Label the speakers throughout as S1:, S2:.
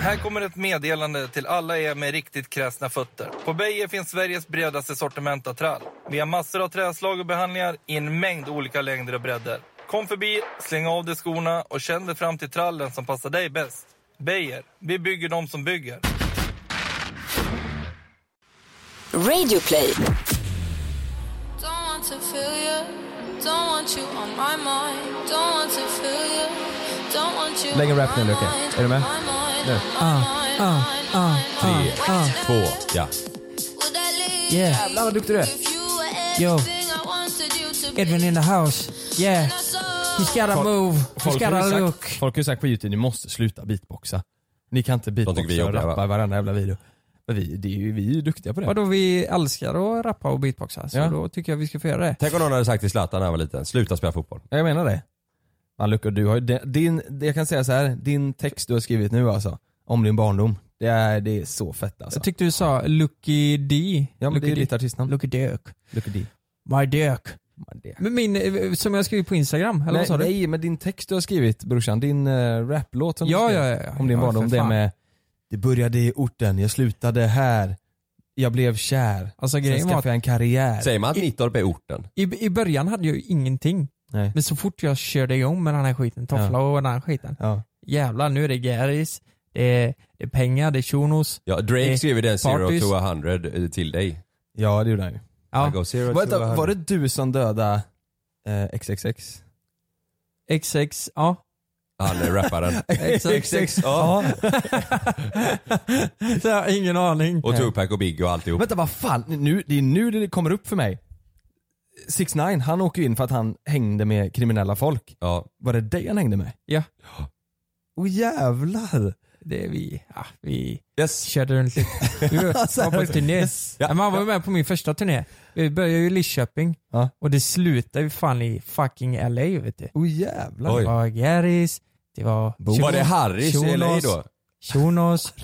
S1: Här kommer ett meddelande till alla er med riktigt kräsna fötter. På Beijer finns Sveriges bredaste sortiment av trall. Vi har massor av träslag och behandlingar i en mängd olika längder och bredder. Kom förbi, släng av dig skorna och känn dig fram till trallen som passar dig bäst. Beijer, vi bygger de som bygger.
S2: Radio play.
S3: Don't want to feel you. Don't want you on my mind. Don't want to feel you. Don't want you
S4: Lägg en
S3: on
S4: rap nu,
S3: my
S4: Luke.
S3: mind,
S4: Är
S5: Er
S4: du med?
S3: on my mind,
S4: Nu.
S3: on my
S5: Ah,
S3: mind, on my mind.
S6: Tre, två, ja.
S3: Would I leave
S5: Yeah.
S4: Jävlar vad duktig du är.
S3: if you were
S5: Yo.
S3: everything I wanted you to be?
S5: Edwin in the house. Yeah.
S3: I saw
S5: He's got a
S6: Folk-
S5: move. He's
S6: Folk
S5: got
S6: har,
S5: a
S6: ju
S5: look.
S6: sagt, folk har ju sagt på youtube, ni måste sluta beatboxa. Ni kan inte beatboxa
S7: tycker vi
S6: och
S7: jobbar,
S6: rappa
S7: va?
S6: i varenda jävla video. Men vi, det är ju, vi är ju duktiga på det.
S5: Vadå vi älskar att rappa och beatboxa så
S6: Ja.
S5: då tycker jag vi ska få göra det.
S7: Tänk om någon hade sagt till Zlatan när han var liten, sluta spela fotboll.
S6: Ja, Jag menar det. Man, Luca, du har ju de- din, det- jag kan säga så här, din text du har skrivit nu alltså, om din barndom, det är, det är så fett alltså.
S5: Jag tyckte du sa Lucky D.
S6: ja men det
S5: Lucky
S6: är ju
S5: D.
S6: ditt artistnamn.
S5: Lucky Dök.
S6: Luca D.
S5: My Dök.
S6: Man, det.
S5: Men min, eh, som jag skrev på Instagram, eller vad
S6: Nej,
S5: sa du?
S6: nej men din text du har skrivit brorsan, din uh, raplåt som
S5: Ja,
S6: du
S5: ja,
S6: skrev
S5: ja, ja.
S6: om din
S5: ja,
S6: barndom,
S5: för
S6: det
S5: fan.
S6: med Det började i orten, jag slutade här, jag blev kär,
S5: Alltså
S6: sen
S5: grejen var att
S6: skaffade jag en karriär.
S7: Säger man att Nittorp är orten?
S5: i, i början hade jag ju ingenting.
S6: Nej.
S5: Men så fort jag körde igång med den här skiten, toffla
S6: Ja.
S5: och den här skiten.
S6: Ja.
S5: Jävlar, nu är det Garris, det är, det är pengar, det är shunos.
S7: Ja, Drake
S5: Eh,
S7: skrev ju den Zero
S5: parties.
S7: to 100 eh, till dig.
S6: ja det gjorde han ju.
S7: I
S5: Ja,
S7: go zero to
S6: Vänta,
S7: 100.
S6: var det du som dödade eh, XXX?
S5: XX, ja.
S7: Han är rapparen.
S5: XX, ja. Så jag har ingen aning.
S7: Och
S6: typ-
S7: Tupac och Biggie och alltihop.
S6: Vänta vad fan, nu, det är nu det kommer upp för mig. 6 9 han åker ju in för att han hängde med kriminella folk.
S7: Ja.
S6: Var det dig han hängde med?
S5: Ja.
S6: Åh jävlar!
S5: Det är vi, ja, vi
S7: Yes.
S5: körde runt lite. Vi var på turné. Ja, men han var ju med på min första turné. Vi började ju i Lidköping
S6: Ja.
S5: och det slutade ju fan i fucking LA vet du.
S6: Åh jävlar!
S5: Det
S7: Oj.
S5: var Garris, det var...
S7: Var det Harrys i LA då?
S5: Shunos,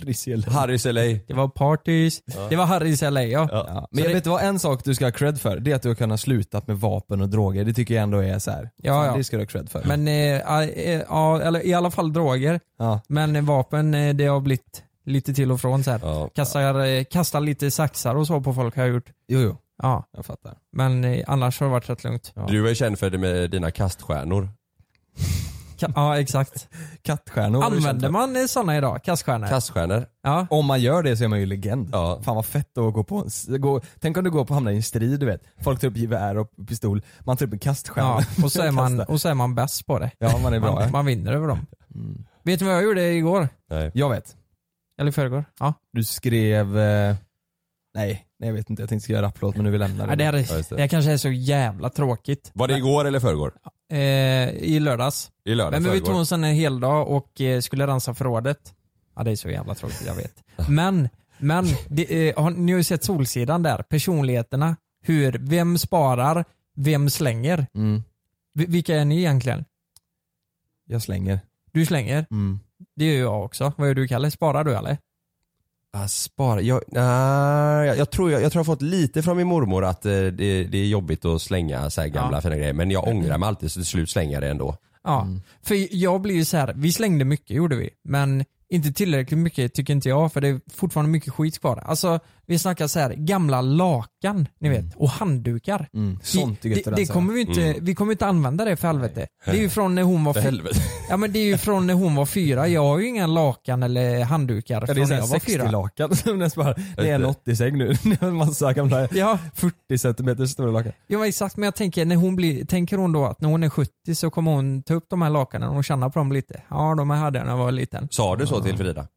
S7: Harrys LA.
S5: det var Parties, det var Harrys LA ja.
S6: Ja. Men jag vet vad en sak du ska ha cred för, det är att du har kunnat sluta med vapen och droger. Det tycker jag ändå är så här.
S5: Ja,
S6: fan,
S5: ja.
S6: Det ska du ha cred för.
S5: Men eh, ja, eh, ja, eller i alla fall droger.
S6: ja.
S5: Men eh, vapen, eh, det har blivit lite till och från så här.
S7: Ja.
S5: Kastar, eh, kastar lite saxar och så på folk har jag gjort.
S6: Jo, jo,
S5: Ja,
S6: jag fattar.
S5: men eh, annars har det varit rätt lugnt. Ja,
S7: Du är känd för det med dina kaststjärnor.
S5: Ka- ja exakt.
S6: Kattstjärnor har du känt
S5: Använder
S6: för.
S5: man eh, såna idag? Kaststjärnor?
S7: Kaststjärnor.
S5: ja.
S6: Om man gör det så är man ju legend.
S7: Ja.
S6: Fan vad fett att gå på en, s- gå, tänk om du går på och hamnar i en strid du vet. Folk tar upp gevär och pistol, man tar upp en kaststjärna.
S5: ja. Och, så är man,
S6: Kastar.
S5: och så är man bäst på det.
S6: ja man är bra.
S5: Man,
S6: ja.
S5: man vinner över dem. Vet ni vad jag gjorde igår?
S7: Nej.
S6: Jag vet.
S5: Eller i förrgår? Ja.
S6: Du skrev... Eh, nej, nej jag vet inte. Jag tänkte skriva rapplåt men nu vill jag lämna
S5: Nej, det, här
S7: Ja, just
S5: är,
S7: det.
S5: det här kanske är så jävla tråkigt.
S7: Var det igår eller förrgår?
S5: Eh, I lördags.
S7: I lördag
S5: Nej, men vi tog
S7: förrgår.
S5: en sån här hel dag och eh, skulle rensa förrådet. Ja det är så jävla tråkigt, jag vet. Men, men det, eh, har, ni har ju sett Solsidan där, personligheterna. Hur, vem sparar, vem slänger?
S6: Mm,
S5: Vi- vilka är ni egentligen?
S6: jag slänger.
S5: Du slänger,
S6: Mm.
S5: det gör jag också. Vad gör du Kalle? Sparar du eller?
S7: Ah, spara. Jag, nej, jag, jag, tror, jag, jag tror jag har fått lite från min mormor att eh, det, det är jobbigt att slänga så här gamla
S5: Ja.
S7: fina grejer. Men jag ångrar mig alltid så till slut slänger jag det ändå.
S5: Ja,
S6: Mm.
S5: för jag blir ju så här, vi slängde mycket gjorde vi, men inte tillräckligt mycket tycker inte jag för det är fortfarande mycket skit kvar. Alltså vi snackar så här gamla lakan, ni vet, och handdukar.
S6: Mm. Sånt är
S5: vi,
S6: gött
S5: det,
S6: att
S5: det
S6: rensa.
S5: kommer vi inte, vi kommer inte använda det för helvete. Det är ju från när hon var
S7: Mm. För
S5: fyra.
S7: helvete.
S5: Ja men det är ju från när hon var fyra. Jag har ju inga lakan eller handdukar
S6: Ja,
S5: från
S6: det är
S5: när jag var
S6: såhär
S5: fyra.
S6: 60-lakan som nästan bara, det är en 80-säng nu. Det är en massa gamla
S5: Ja,
S6: 40 cm stora lakan.
S5: ja men exakt men jag tänker, när hon blir, tänker hon då att när hon är 70 så kommer hon ta upp de här lakanen och känna på dem lite. Ja de här hade jag när jag var liten.
S7: Sa du så till Frida?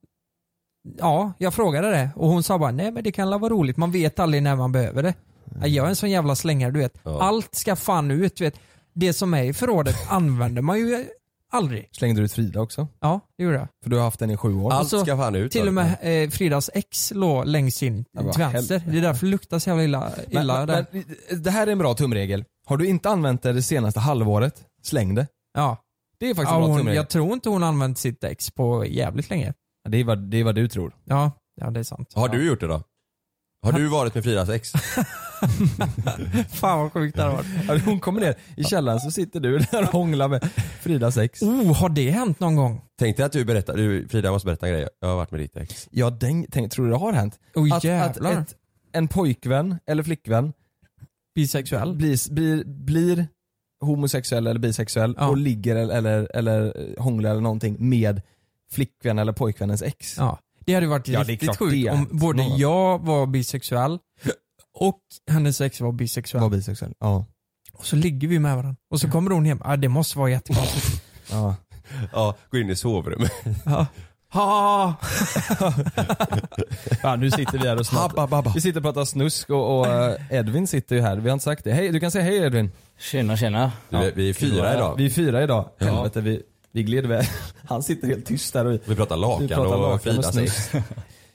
S5: Ja, jag frågade det och hon sa bara nej men det kan väl vara roligt, man vet aldrig när man behöver det. Ja, Jag är en sån jävla slängare du vet.
S7: Ja.
S5: Allt ska fan ut du vet. Det som är i förrådet använder man ju aldrig.
S6: Slängde du ut Frida också?
S5: Ja, det gjorde jag.
S6: För du har haft den i sju år.
S7: Allt
S5: Alltså,
S7: ska fan ut.
S5: Till
S7: sa
S5: och
S7: du.
S5: med eh, Fridas ex låg längst in
S6: Ja, vad
S5: till vänster.
S6: helvete.
S5: Det är därför det luktar så jävla illa.
S6: Men-
S5: illa där.
S6: men- men Det här är en bra tumregel. Har du inte använt det det senaste halvåret, släng det.
S5: ja.
S6: Det är faktiskt
S5: Ja,
S6: en bra
S5: hon,
S6: tumregel.
S5: jag tror inte hon använt sitt ex på jävligt länge.
S6: Det, är vad, det är vad du tror.
S5: Ja, ja det är sant.
S7: Har du gjort det då? Har du varit med Fridas ex?
S5: Fan vad sjukt det hade varit.
S6: Ja, hon kommer ner i källaren så sitter du där och hånglar med Fridas ex.
S5: Oh, har det hänt någon gång?
S7: Tänk dig att du berättar, du, Frida jag måste berätta en grej. Jag har varit med ditt ex.
S6: Ja, den, tänk, tror du det har hänt?
S5: Oh,
S6: att
S5: jävlar.
S6: att ett, en pojkvän eller flickvän
S5: Bisexuell?
S6: blir, blir, blir homosexuell eller bisexuell
S5: Ja.
S6: och ligger eller, eller, eller eh, hånglar eller någonting med flickvän eller pojkvännens ex.
S5: Ja. Det hade ju varit
S6: Ja, det är
S5: riktigt
S6: klart
S5: sjukt
S6: det är
S5: om
S6: hänt
S5: både
S6: någon gång.
S5: jag var bisexuell och hennes ex var bisexuell.
S6: Var bisexuell. Ja.
S5: Och så ligger vi med varandra. Och så kommer hon hem. Ah, det måste vara jättekonstigt.
S6: ja.
S7: Ja, gå in i sovrummet.
S5: Ja. Ha!
S6: Ja, nu sitter vi här och snart.
S7: Habba, babba.
S6: Vi sitter och pratar snusk och, och eh, Edvin sitter ju här. Vi har inte sagt det. Hej, du kan säga hej Edvin.
S4: Tjena tjena.
S7: Du, vi- vi är fyra idag.
S6: Vi
S7: Vi,
S6: är fyra idag.
S7: Ja.
S6: Helvete, vi, vi gled iväg. Han sitter helt tyst där och vi,
S7: pratar
S6: vi
S7: lakan
S6: pratar
S7: och
S6: lakan och
S7: Fridas ex.
S6: snus.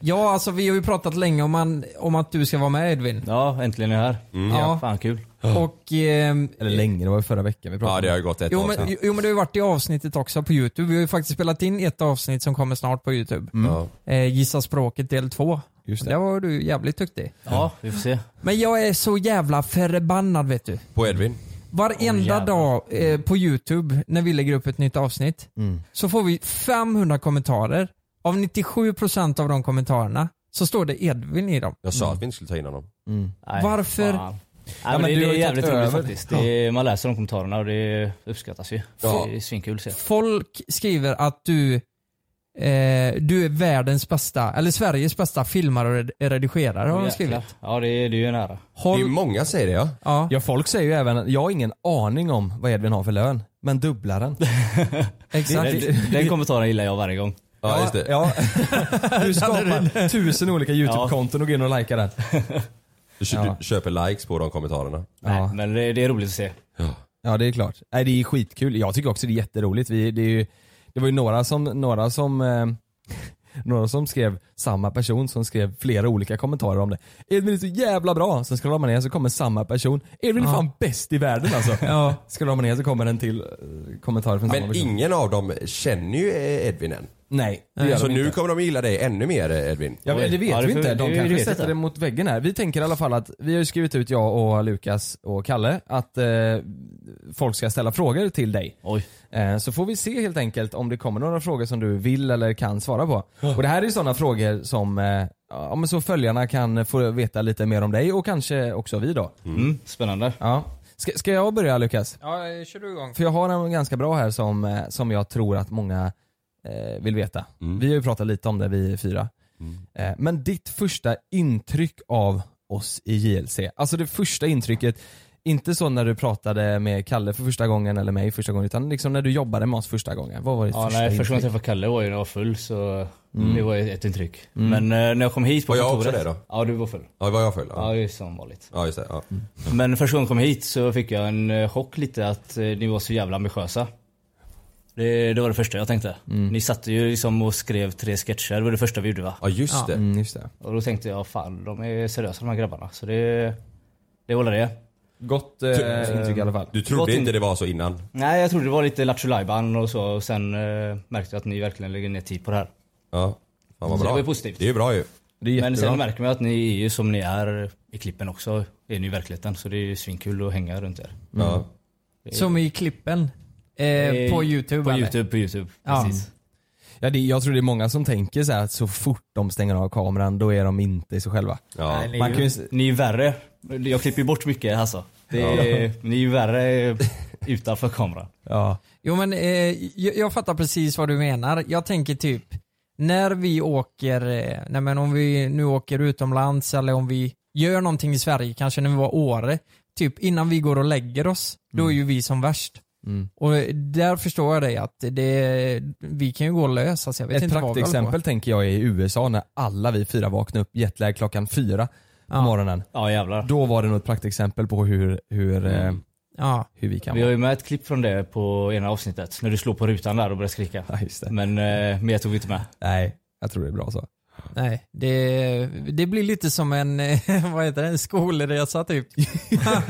S5: Ja, alltså vi har ju pratat länge om, man, om att du ska vara med Edvin.
S4: Ja, äntligen är jag här.
S5: Ja.
S4: Ja. Fan kul.
S5: Och... ehm,
S6: Eller länge, det var ju förra veckan vi
S7: Ja
S6: pratade
S7: det har ju gått ett
S5: Jo
S7: tag
S5: men,
S7: sedan.
S5: jo men det har ju varit i avsnittet också på youtube. Vi har ju faktiskt spelat in ett avsnitt som kommer snart på youtube.
S7: Ja.
S5: Eh, Gissa språket del 2.
S6: Just det.
S5: Där var du jävligt duktig.
S4: Ja, vi får se.
S5: Men jag är så jävla förbannad vet du.
S7: På Edvin.
S5: Varenda
S4: jävlar.
S5: dag eh, på youtube när vi lägger upp ett nytt avsnitt så får vi 500 kommentarer. Av 97% av de kommentarerna så står det Edvin i dem.
S7: Jag sa att vi inte skulle ta in honom.
S4: Nej,
S5: Varför?
S4: fan. Nej,
S6: men
S4: men det,
S6: du
S4: det
S6: har
S4: är
S6: ju
S4: jävligt
S6: tagit
S4: roligt
S6: över.
S4: faktiskt. Det är, man läser de kommentarerna och det uppskattas ju.
S7: Ja.
S4: Det är svinkul att se.
S5: Folk skriver att du, eh, du är världens bästa, eller Sveriges bästa filmare och red- redigerare har de skrivit.
S4: Jäklar. Ja, det, är- det är ju en ära.
S7: Det är
S5: Håll,
S7: ju många säger det ja.
S5: ja.
S6: Ja folk säger ju även, jag har ingen aning om vad Edvin har för lön, men dubblar den.
S5: Exakt.
S4: Den, den kommentaren gillar jag varje gång.
S7: Ja just det.
S6: Ja. Du skapar tusen olika YouTube-konton och går in och likar den.
S7: Du, kö- du köper likes på de kommentarerna.
S6: Ja.
S4: Nej, men det, det är roligt att se.
S6: Ja det är klart. Nej det är skitkul. Jag tycker också det är jätteroligt. Vi, det, är ju, det var ju några som, några som eh, några som skrev, samma person som skrev flera olika kommentarer om det. Edvin är så jävla bra! Sen scrollar man ner så kommer samma person. Edvin är
S5: Ja.
S6: fan bäst i världen alltså.
S5: Ja.
S6: Scrollar man ner så kommer en till eh, kommentar från samma
S7: Men
S6: person.
S7: ingen av dem känner ju eh, Edvin än.
S6: Nej, det gör
S7: Så
S6: de inte.
S7: nu kommer de gilla dig ännu mer eh, Edvin.
S6: Ja, men det vet
S4: Ja, det
S6: vi
S4: får-
S6: inte. De
S4: det-
S6: kanske
S4: det vet
S6: sätter
S4: jag.
S6: det mot väggen här. Vi tänker i alla fall att, vi har ju skrivit ut jag och Lukas och Kalle att eh, folk ska ställa frågor till dig.
S4: Oj.
S6: Eh, så får vi se helt enkelt om det kommer några frågor som du vill eller kan svara på. Och det här är ju sådana frågor som, eh, ja, men så följarna kan få veta lite mer om dig och kanske också vi då.
S4: Mm, spännande.
S6: Ja. Ska, ska jag börja Lukas?
S5: Ja, eh, kör du igång.
S6: För jag har en ganska bra här som, eh, som jag tror att många eh, vill veta. Vi har ju pratat lite om det vi fyra. Eh, men ditt första intryck av oss i JLC, alltså det första intrycket, inte så när du pratade med Kalle för första gången eller mig första gången utan liksom när du jobbade med oss första gången. Vad var ditt
S4: Ja,
S6: första
S4: nej,
S6: intryck?
S4: första gången jag träffade Kalle var ju när jag var full så det var ju ett intryck. Men eh, när jag kom hit på
S7: Var jag
S4: kontoret.
S7: också det då?
S4: Ja, du var full.
S7: Ja, var jag full?
S4: Ja,
S7: Ja,
S4: det är som vanligt.
S7: ja just det. Ja.
S4: Men första gången jag kom hit så fick jag en eh, chock lite att eh, ni var så jävla ambitiösa. Det, det var det första jag tänkte.
S6: Mm.
S4: Ni satt ju liksom och skrev tre sketcher, det var det första vi gjorde va?
S7: ja just det.
S6: Mm, just det.
S4: Och då tänkte jag fan de är seriösa de här grabbarna. Så det, det var väl det.
S6: Gott eh, intryck i alla fall.
S7: Du
S4: Gott
S7: trodde
S4: in-
S7: inte det var så innan?
S4: Nej jag trodde det var lite Lattjo Lajban och så och sen eh, märkte jag att ni verkligen lägger ner tid på det här.
S7: Ja. Fan vad
S4: Så
S7: bra.
S4: det var ju positivt.
S7: Det är ju bra ju.
S6: Det är
S4: Men
S6: jättebra.
S4: sen märker man att ni är ju som ni är i klippen också. Är ni i verkligheten. Så det är ju svinkul att hänga runt er.
S7: Ja.
S5: Som i klippen. Eh,
S4: Eh,
S5: på youtube
S4: På
S5: eller?
S4: youtube, på youtube.
S5: Ja.
S4: Precis.
S6: ja, det, jag tror det är många som tänker så här att så fort de stänger av kameran då är de inte sig själva.
S7: Ja.
S6: Man kan ju, s-
S4: Ni är värre. Jag klipper ju bort mycket alltså. Det är, Ni är ju värre utanför kameran.
S6: ja.
S5: Jo men eh, jag, jag fattar precis vad du menar. Jag tänker typ, när vi åker, eh, nej men om vi nu åker utomlands eller om vi gör någonting i Sverige, kanske när vi var i Åre, typ innan vi går och lägger oss, då är ju vi som värst.
S6: Mm.
S5: Och där förstår jag dig att det, vi kan ju gå och lösa så jag vet
S6: Ett
S5: inte vad vi håller på.
S6: praktexempel tänker jag är i USA när alla vi fyra vaknade upp jetlag klockan fyra på
S5: Ja.
S6: morgonen.
S4: Ja jävlar.
S6: Då var det nog ett praktexempel på hur, hur, eh,
S5: Ja.
S6: hur vi kan
S4: Vi har
S6: vara.
S4: ju med ett klipp från det på ena avsnittet. När du slår på rutan där och börjar skrika.
S6: Ja, just det.
S4: Men eh, mer tog vi inte med.
S6: Nej, jag tror det är bra så.
S5: Nej, det, det blir lite som en, vad heter det, en skolresa typ.
S7: Ja,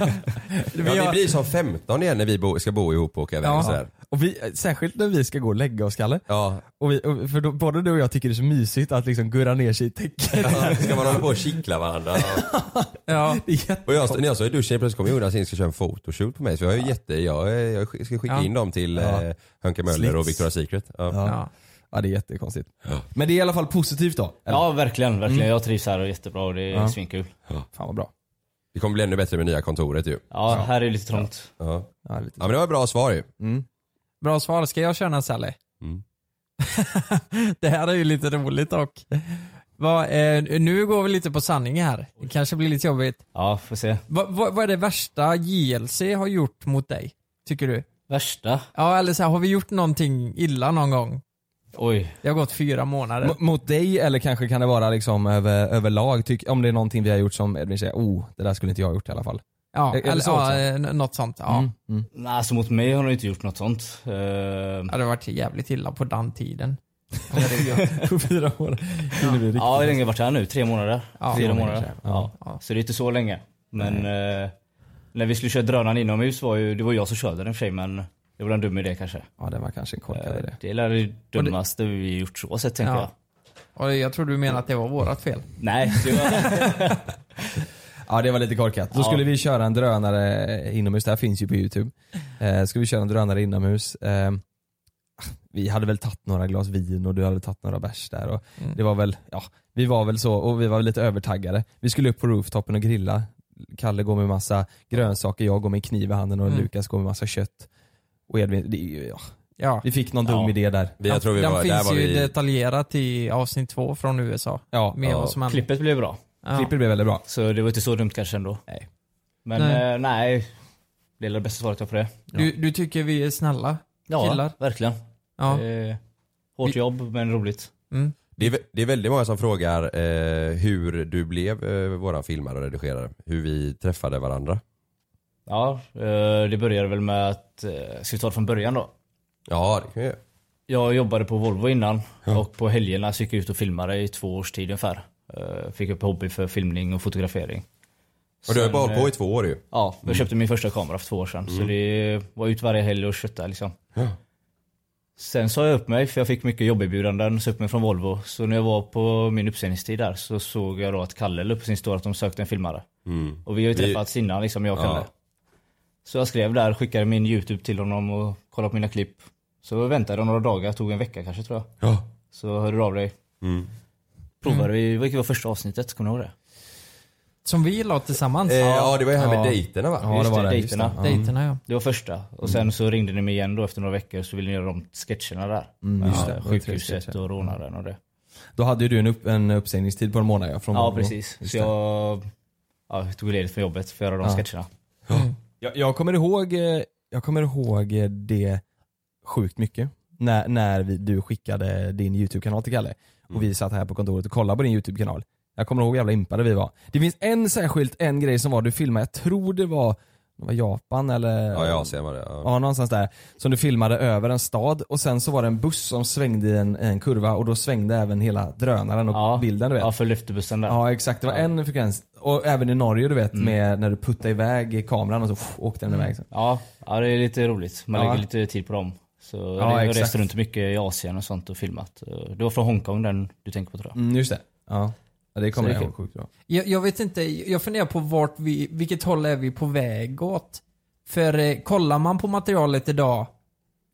S7: vi blir som 15 igen när vi bo, ska bo ihop och åka iväg
S5: Ja.
S7: och sådär.
S6: Och vi, eh, särskilt när vi ska gå och lägga oss Kalle.
S7: Ja,
S6: Och vi, och, för då, både du och jag tycker det är så mysigt att liksom gurra ner sig i täcket.
S7: ska man hålla på och kittla varandra?
S5: Ja.
S6: Det är jätte-
S7: Och jag, när jag står i duschen plötsligt kommer Jonas in och ska köra en fotoshoot på mig. Så jag, är ju jätte, jag, är- jag sk- ska skicka
S5: Ja.
S7: in dem till
S6: Ja.
S7: eh, Hönke Möller och
S6: Slits.
S7: Victoria's Secret. Ja.
S5: Ja.
S6: Ja, det är jättekonstigt. Men det är i alla fall positivt då. Eller? Mm.
S4: Ja, verkligen. verkligen. Jag trivs här och jättebra och det är svinkul.
S6: Fan vad bra.
S7: Det kommer bli ännu bättre med nya kontoret ju.
S4: Ja, här är det lite trångt.
S7: Ja.
S6: Ja, lite.
S7: ja men det var ett bra svar ju.
S5: Bra svar. Ska jag köra en Sally?
S7: Mm.
S5: det här är ju lite roligt dock. Va, eh, nu går vi lite på sanning här. Det kanske blir lite jobbigt.
S4: Ja, får se.
S5: Va, va, vad är det värsta JLC har gjort mot dig? Tycker du?
S4: Värsta?
S5: Ja, eller så här, har vi gjort någonting illa någon gång?
S4: Oj.
S5: Det har gått fyra månader.
S6: M- Mot dig eller kanske kan det vara liksom över, överlag, tyck, om det är någonting vi har gjort som Edvin säger, oh det där skulle inte jag ha gjort i alla fall.
S5: Ja,
S6: Är- är det
S5: eller
S6: så
S5: ja,
S6: också?
S5: eh, något sånt. Ja.
S6: Mm, mm.
S4: Nej, alltså mot mig har de inte gjort något sånt. Eh,
S5: Det hade varit jävligt illa på den tiden.
S6: På fyra år hinner vi riktigt.
S4: ja, hur länge har jag varit här nu? Tre månader?
S5: Ja.
S4: Fyra
S5: Ja,
S4: månader.
S6: kanske.
S4: Ja. Så det är inte så länge. Men eh, när vi skulle köra drönaren inomhus var ju, det var jag som körde den i och för sig men det var en dum idé kanske.
S6: Ja det var kanske en korkad idé.
S4: Det är väl det dummaste vi gjort så sett tänker
S5: Ja.
S4: jag.
S5: Och jag tror du menar att det var vårat fel.
S4: Nej, det var,
S6: Ja det var lite korkat. Då
S4: Ja.
S6: skulle vi köra en drönare inomhus, det här finns ju på youtube. Eh, skulle vi köra en drönare inomhus. Eh, vi hade väl tagit några glas vin och du hade tagit några bärs där. Och
S5: Mm.
S6: Det var väl, ja, vi var väl så och vi var väl lite övertaggade. Vi skulle upp på rooftopen och grilla. Kalle går med massa grönsaker, jag går med en kniv i handen och
S5: Mm.
S6: Lukas går med massa kött. Och Edvin, det, är ju- ja,
S5: Ja.
S6: vi fick någon dum
S4: Ja.
S6: idé där.
S7: Vi, jag tror vi
S5: Den
S7: var, där
S5: finns
S7: var
S5: ju
S7: vi...
S5: detaljerat i avsnitt två från USA.
S6: Ja,
S5: Med
S6: ja.
S5: vad som hände.
S4: klippet blev bra.
S5: Ja.
S6: klippet blev väldigt bra.
S4: Så det var inte så dumt kanske ändå.
S6: Nej.
S4: Men
S5: Nej.
S4: nej, eh, nej det är det bästa svaret jag har på det.
S5: Du, du tycker vi är snälla?
S4: Ja,
S5: Killar.
S4: verkligen.
S5: Ja.
S4: Eh, hårt
S5: Vi-
S4: jobb men roligt.
S5: Mm.
S7: Det är, vä- det är väldigt många som frågar eh, hur du blev eh, våran filmare och redigerare. Hur vi träffade varandra.
S4: Ja, eh, det började väl med att, eh, ska vi ta det från början då?
S7: Ja, det kan jag göra.
S4: Jag jobbade på Volvo innan och på helgerna så gick jag ut och filmade i två års tid ungefär. Eh, Fick upp hobby för filmning och fotografering.
S7: Och du har ju
S4: Sen,
S7: bara hållit på Mm.
S4: eh,
S7: i två år ju.
S4: Ja, jag köpte min första kamera för två år sedan. Så det var ut varje helg och kötta liksom. Sen sa jag upp mig för jag fick mycket jobberbjudanden, sa upp mig från Volvo. Så när jag var på min uppsägningstid där så såg jag då att Kalle la upp på sin story att de sökte en filmare.
S7: Mm.
S4: Och vi har ju
S7: Vi-
S4: träffats innan liksom jag och
S7: Ja.
S4: Kalle. Så jag skrev där, skickade min youtube till honom och kollade på mina klipp. Så väntade jag några dagar, tog en vecka kanske tror jag.
S7: Ja.
S4: Så hörde du av dig.
S7: Mm.
S4: Provade
S6: Mm.
S4: vi, vilket var första avsnittet, kommer du ihåg det?
S5: Som vi la tillsammans.
S7: Eh, ja, det var ju här med
S6: Ja.
S7: dejterna Mm. va?
S6: Ja, Mm. det var det. Just
S4: dejterna.
S6: det.
S5: Dejterna ja.
S4: Det var första. Och sen så ringde ni mig igen då efter några veckor så ville ni göra de sketcherna där.
S6: Mm,
S4: Med
S6: just det. Det var tre
S4: sjukhuset
S6: sketcher.
S4: och rånaren och det.
S6: Då hade ju du en, upp, en uppsägningstid på en månad ja, från
S4: Ja
S6: Volvo.
S4: precis.
S6: Just
S4: Så
S6: det.
S4: jag ja, tog ledigt från jobbet för att göra de
S6: Ja.
S4: sketcherna.
S6: Jag, jag, kommer ihåg, eh, jag kommer ihåg eh, det sjukt mycket. När, när vi, du skickade din YouTube-kanal till Kalle. Och vi satt här på kontoret och kollade på din YouTube-kanal. Jag kommer ihåg hur jävla impade vi var. Det finns en särskilt en grej som var du filmade, jag tror det var, det var Japan eller?
S7: Ja, i Asien var det. Ja.
S6: Ja, någonstans där. Som du filmade över en stad och sen så var det en buss som svängde i en, en kurva och då svängde även hela drönaren och
S4: Ja.
S6: bilden du vet.
S4: Ja, följde efter bussen där.
S6: Ja exakt, det var en frekvens. Och även i Norge du vet, med när du puttade iväg kameran och så pff, åkte den iväg.
S4: Ja, ja, det är lite roligt. Man
S6: Ja.
S4: lägger lite tid på dem. Så
S6: Ja,
S4: jag
S6: exakt.
S4: reste runt mycket i Asien och sånt och filmat. Det var från Hongkong den du tänker på tror jag.
S6: Mm, just det. Ja. ja det kommer
S4: Så
S6: jag
S4: det
S6: ihåg sjukt bra.
S5: Jag, jag vet inte, jag funderar på vart vi, vilket håll är vi på väg åt? För eh, kollar man på materialet idag,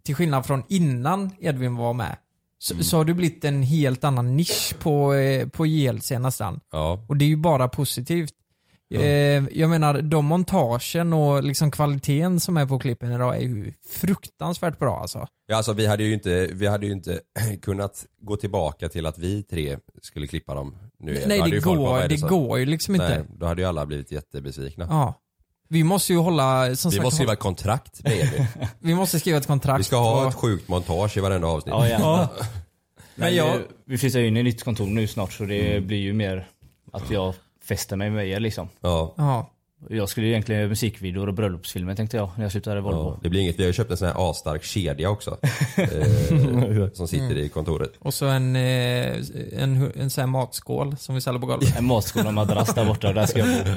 S5: till skillnad från innan Edvin var med, så,
S7: Mm.
S5: så har du blivit en helt annan nisch på, eh, på JLC nästan.
S7: Ja.
S5: Och det är ju bara positivt. Eh, jag menar, de montagen och liksom kvaliteten som är på klippen idag är ju fruktansvärt bra alltså.
S7: ja, alltså vi hade ju inte, vi hade ju inte kunnat gå tillbaka till att vi tre skulle klippa dem. Nu, är- då
S5: Nej,
S7: hade
S5: det
S7: ju folk bara, vad
S5: går,
S7: är
S5: det
S7: som-
S5: går ju liksom
S7: Nej,
S5: inte.
S7: då hade ju alla blivit jättebesvikna.
S5: Ja. Vi måste ju hålla, som
S7: Vi
S5: sagt,
S7: måste skriva ett kontrakt med er.
S5: vi måste skriva ett kontrakt.
S7: Vi ska ha
S5: och-
S7: ett sjukt montage i varenda avsnitt.
S4: Ja, ja.
S5: Men jag,
S4: Vi, vi flyttar ju in i nytt kontor nu snart så det
S6: Mm.
S4: blir ju mer att jag fäster mig med er liksom.
S7: Ja.
S5: ja.
S4: Jag skulle egentligen göra musikvideor och bröllopsfilmer tänkte jag när jag slutade i Volvo.
S7: Ja, det blir inget. Vi har ju köpt en sån här asstark kedja också. eh, som sitter i kontoret.
S5: Och så en, eh, en, hu- en sån här matskål som vi säljer på golvet.
S4: En matskola och madrass där borta, där ska jag bo.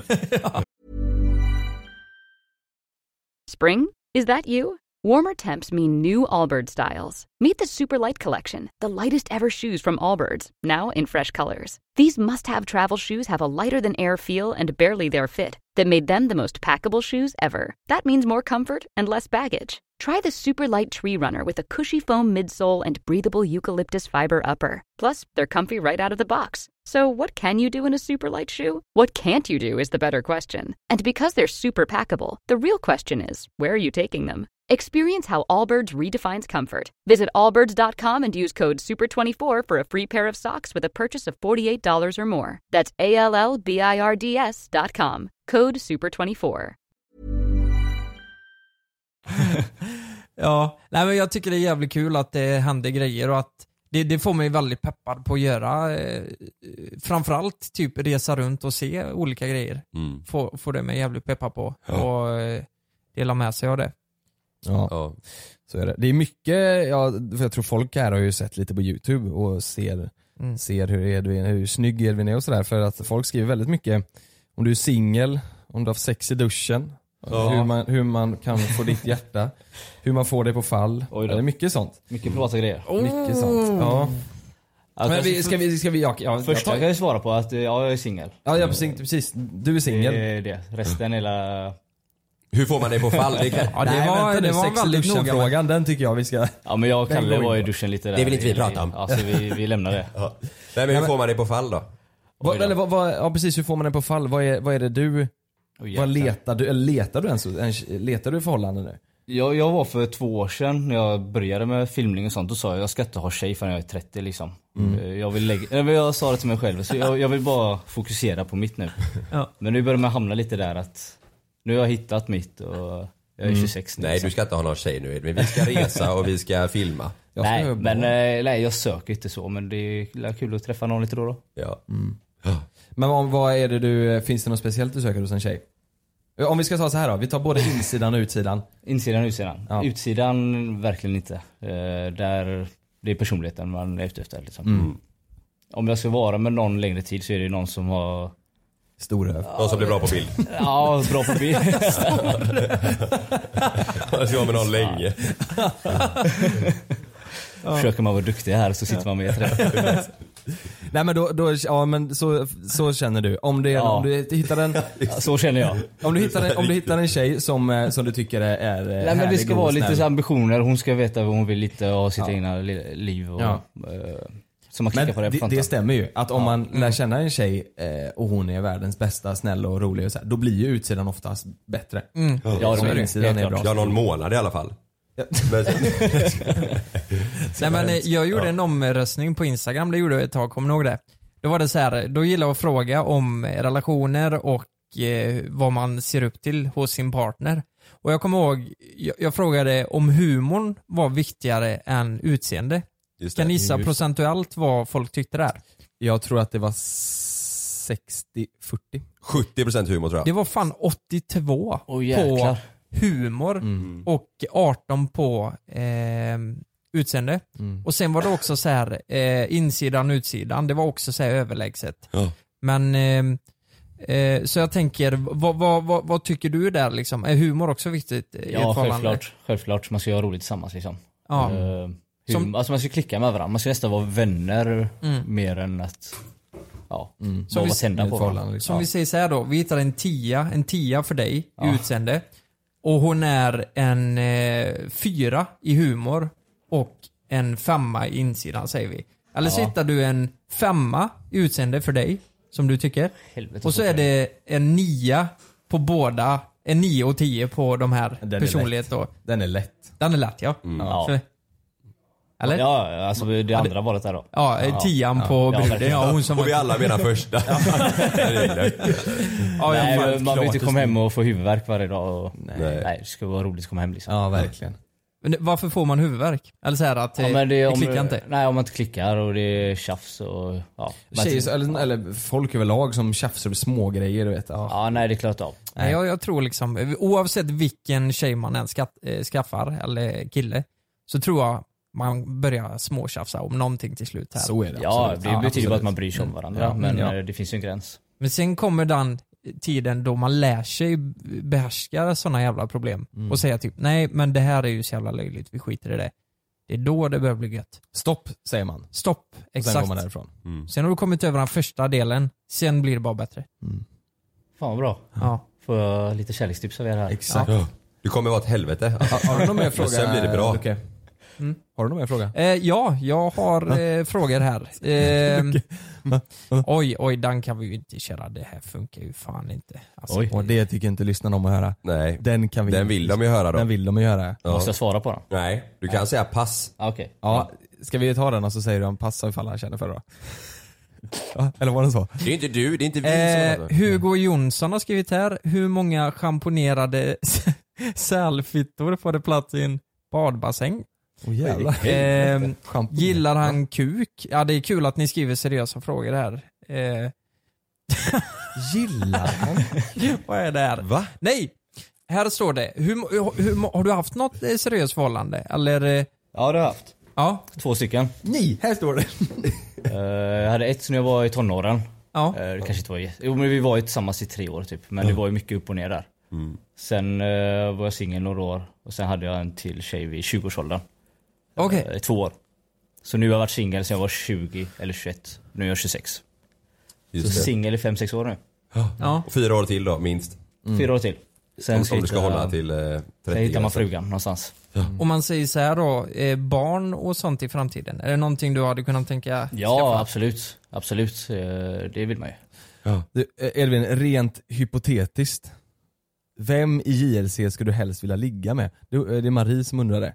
S8: Spring? Is that you? Warmer temps mean new Allbirds styles. Meet the Super Light Collection, the lightest ever shoes from Allbirds, now in fresh colors. These must have travel shoes have a lighter than air feel and barely their fit that made them the most packable shoes ever. That means more comfort and less baggage. Try the Super Light Tree Runner with a cushy foam midsole and breathable eucalyptus fiber upper. Plus, they're comfy right out of the box. So, what can you do in a super light shoe? What can't you do is the better question. And because they're super packable, the real question is where are you taking them? Experience how Allbirds redefines comfort. Visit allbirds.com and use code SUPER24 for a free pair of socks with a purchase of $48 or more. That's A L L B I R D S dot com. Code SUPER24.
S5: Ja, nej men jag tycker det är jävligt kul att det händer grejer och att det, det får mig väldigt peppad på att göra eh, framförallt typ resa runt och se olika grejer.
S7: Mm.
S5: Får, får det mig jävligt peppad på och eh, dela med sig av det.
S6: Ja,
S7: Ja.
S6: så är det. Det är mycket, ja, för jag tror folk här har ju sett lite på youtube och ser,
S5: Mm.
S6: ser hur, Edvin, hur snygg Edvin är och sådär. För att folk skriver väldigt mycket om du är singel, om du har haft sex i duschen, hur, man, hur man kan få ditt hjärta, hur man får det på fall.
S4: Oj då.
S6: Ja, det är mycket sånt.
S4: Mycket privata grejer.
S5: Mm.
S6: Mycket sånt. Ja.
S4: Alltså,
S6: Men vi, ska vi, ska vi, ja, ja,
S4: Första
S6: ja,
S4: kan jag ju svara på att eh, ja, jag är singel.
S6: ja, ja precis, precis, du är
S4: Det
S6: singel.
S4: är det. Resten hela...
S7: Hur får man det på fall? Det, kan...
S5: Ja, det
S6: Nej,
S5: var,
S6: vänta nu,
S5: det var
S6: sex i
S5: väldigt noga med.
S6: duschen-frågan, den tycker jag vi ska...
S4: Ja men jag och
S6: Den
S4: Kalle
S6: går
S4: var i
S6: in.
S4: duschen lite där.
S7: Det vill inte vi prata om.
S4: Alltså vi, vi lämnar det.
S7: Ja. Nej, men hur får man det på fall då?
S6: Vad, eller, vad, vad, ja precis, hur får man den på fall? Vad är, vad är det du,
S4: Åh,
S6: vad
S4: jäklar.
S6: letar du, eller letar du ens, ens- letar du förhållanden nu?
S4: Jag, jag var för två år sedan när jag började med filmning och sånt. Då sa jag jag ska inte ha tjej förrän jag är 30 liksom. Eh, Jag, vill lägga, nej, men jag sa det till mig själv. Så jag, jag vill bara fokusera på mitt nu.
S5: Ja.
S4: Men nu börjar man hamna lite där att nu har jag hittat mitt och jag är 26 nu.
S7: Nej,
S4: liksom.
S7: du ska inte ha någon tjej nu Edvin. Vi ska resa och vi ska filma.
S6: Jag ska
S4: nej
S6: göra
S4: men
S6: barn.
S4: eh, nej, jag söker inte så men det är kul att träffa någon lite då och då.
S7: Ja.
S6: Men om, vad är det du, eh, finns det något speciellt du söker hos en tjej? Eh, Om vi ska ta så här då, vi tar både insidan och utsidan.
S4: Insidan och utsidan.
S6: Ja.
S4: Utsidan verkligen inte. Eh, där det är personligheten man är ute efter. Liksom.
S6: Mm.
S4: Om jag ska vara med någon längre tid så är det ju någon som har
S6: Storöv.
S7: Någon som blir bra på bild.
S4: ja, bra på bild.
S7: Alltså, Jag ska vara med någon länge.
S4: Försöker man vara duktig här så sitter man med i ett rätt.
S6: Nej men då, då ja men så, så känner du. Om, det,
S4: Ja.
S6: om du hittar en,
S4: Så känner jag.
S6: om du hittar en, om du hittar en tjej som, eh, som du tycker är, är
S4: Nej, men det
S6: härlig
S4: ska
S6: och
S4: vara
S6: snäll.
S4: lite så ambitioner. Hon ska veta vad hon vill lite och ha sitt egna li- liv. Och,
S6: Ja.
S4: eh, så man klickar
S6: Men
S4: på den
S6: det,
S4: fronten.
S6: det stämmer ju. Att om man lär känna en tjej eh, och hon är världens bästa, snäll och rolig och så här, då blir ju utsidan oftast bättre.
S4: ja,
S6: Om
S4: det är det.
S6: insidan
S4: Helt
S6: Mm. är bra.
S4: klart.
S7: Ja, någon månad i alla fall. Men,
S5: Nej, men eh, jag gjorde en omröstning på Instagram, det gjorde jag ett tag, kommer ni ihåg det? Då var det så här, då gillar jag att fråga om eh, relationer och eh, vad man ser upp till hos sin partner. Och jag kommer ihåg, jag, jag frågade om humorn var viktigare än utseende.
S7: just det.
S5: Kan ni gissa
S6: Just det.
S5: procentuellt vad folk tyckte där?
S6: Jag tror att det var 60-40.
S7: 70% humor tror jag.
S5: Det var fan 82
S4: Åh,
S5: på
S4: jäklar.
S5: humor och 18 på eh, utseende. Och sen var det också så här eh, insidan utsidan, det var också så här överlägset.
S7: Ja.
S5: Men eh, eh, så jag tänker, vad, vad, vad, vad tycker du där liksom? Är humor också viktigt i ett
S4: Ja,
S5: förhållande?
S4: självklart. Självklart. Man ska göra roligt tillsammans liksom.
S5: Ja.
S4: Eh, hur,
S5: Som-
S4: alltså man ska klicka med varandra. Man ska nästan vara vänner
S5: Mm.
S4: mer än att ja,
S5: Som
S4: bara
S5: vi-
S4: vara tända
S6: Ett
S4: på
S6: förhållande,
S4: varandra.
S6: liksom.
S5: Som vi säger så här då, vi hittar en tia, en tia för dig i utseende. Och hon är en eh, fyra i humor och en femma i insidan säger vi. Eller så hittar du en femma i utseende för dig, som du tycker.
S4: Helvete,
S5: Och så är
S4: det.
S5: det en nia på båda, en nio och tio på de här
S6: Den är
S5: personlighet då.
S6: Den är lätt.
S5: Den är lätt ja.
S4: Mm. Ja.
S5: Så, eller? Mm. Ja,
S4: Ja, alltså det andra valet där då.
S5: eh, tian på
S4: Ja,
S5: bruden
S4: verkligen.
S5: ja, hon som
S7: Och vi
S5: var...
S7: alla menar första.
S5: Ja, ja,
S4: Nej,
S5: fan.
S4: men man vill inte
S6: klart
S4: komma hem och få huvudvärk varje dag. Och, nej.
S7: Nej.
S4: det ska vara roligt att komma hem liksom.
S6: Ja verkligen.
S5: Men varför får man huvudvärk? Eller så här att
S4: Ja,
S5: eh,
S4: men det,
S5: det
S4: om,
S5: klickar inte?
S4: Nej, om man inte klickar och det är tjafs och ja. Men-
S6: Tjejer, eller, eller folk överlag som tjafsar över smågrejer du vet. Ja.
S4: ja, nej det är klart av.
S5: Nej, jag, jag tror liksom, oavsett vilken tjej man än skatt, eh, skaffar, eller kille, så tror jag man börjar småtjafsa om någonting till slut här.
S6: Så är det
S4: Ja,
S6: absolut.
S4: det betyder bara att man bryr sig om varandra.
S6: Ja,
S4: men
S6: ja.
S4: eh, det finns ju en gräns.
S5: Men sen kommer den tiden då man lär sig behärska sådana jävla problem
S6: Mm.
S5: och säga typ nej men det här är ju så jävla löjligt, vi skiter i det. Det är då det börjar bli gött.
S6: Stopp säger man. Och
S5: Stopp, exakt.
S6: sen går man därifrån.
S5: Sen har du kommit över den första delen, sen blir det bara bättre.
S4: Fan vad bra.
S5: Ja.
S4: Får jag lite kärlekstips av er här?
S6: Exakt.
S7: Ja. Det kommer vara ett helvete.
S6: Har du någon mer fråga?
S7: Men sen blir det bra.
S6: Lucke? Eh, Har du någon mer fråga?
S5: Eh, ja, jag har eh, frågor här. Eh, oj, oj, den kan vi ju inte köra. Det här funkar ju fan inte. Alltså,
S4: Oj.
S6: Och det tycker inte lyssnarna om att höra.
S7: Nej.
S6: Den kan vi
S7: Den vill de ju höra då.
S6: Den vill de ju höra.
S4: Måste jag svara på den?
S7: Nej, du kan säga pass.
S4: Ah, Okej.
S6: Ja, ska vi ta den och så säger du om passa ifall han känner för det då? Ja, eller var det så?
S7: Det är inte du, det är inte vi som
S5: Eh,
S7: pratar.
S5: Hugo Jonsson har skrivit här, hur många schamponerade sälfittor får det plats i en badbassäng?
S6: Åh jävlar.
S5: Eh,
S6: Schampo.
S5: gillar han kuk? Ja, det är kul att ni skriver seriösa frågor här. Eh,
S6: Gillar han?
S5: vad är det här?
S7: Va?
S5: Nej! Här står det, hur, hur, hur, har du haft något eh, seriöst förhållande? Eller, eh,
S4: Ja det har jag haft.
S5: ja,
S4: Två stycken.
S6: Nej, här står det.
S4: Eh, jag hade ett när jag var i tonåren.
S5: ja.
S4: Eh, Det kanske inte var jätte- Jo men vi var ju tillsammans i tre år typ. Men det var ju mycket upp och ner där. Sen eh, var jag singel några år och sen hade jag en till tjej vid 20-årsåldern.
S5: Okej.
S4: Eh, två år. Så nu har jag varit singel sen jag var 20 eller 21. Nu är jag 26. Så
S7: Just det.
S4: singel i 5-6 år nu.
S5: ja.
S7: Och Fyra år till då, minst.
S4: Fyra år till. Sen
S7: Om,
S4: så
S7: om du ska
S4: hittar jag-
S7: hålla till eh, 30
S4: Sen hittar man
S7: gränsen.
S4: frugan någonstans.
S5: Om man säger så här då, eh, barn och sånt i framtiden. Är det någonting du hade kunnat tänka
S4: Ja absolut. Absolut. Eh, Det vill man ju.
S6: Du, eh, Edvin, rent hypotetiskt. Vem i JLC skulle du helst vilja ligga med? Du, eh, Det är Marie som undrar det.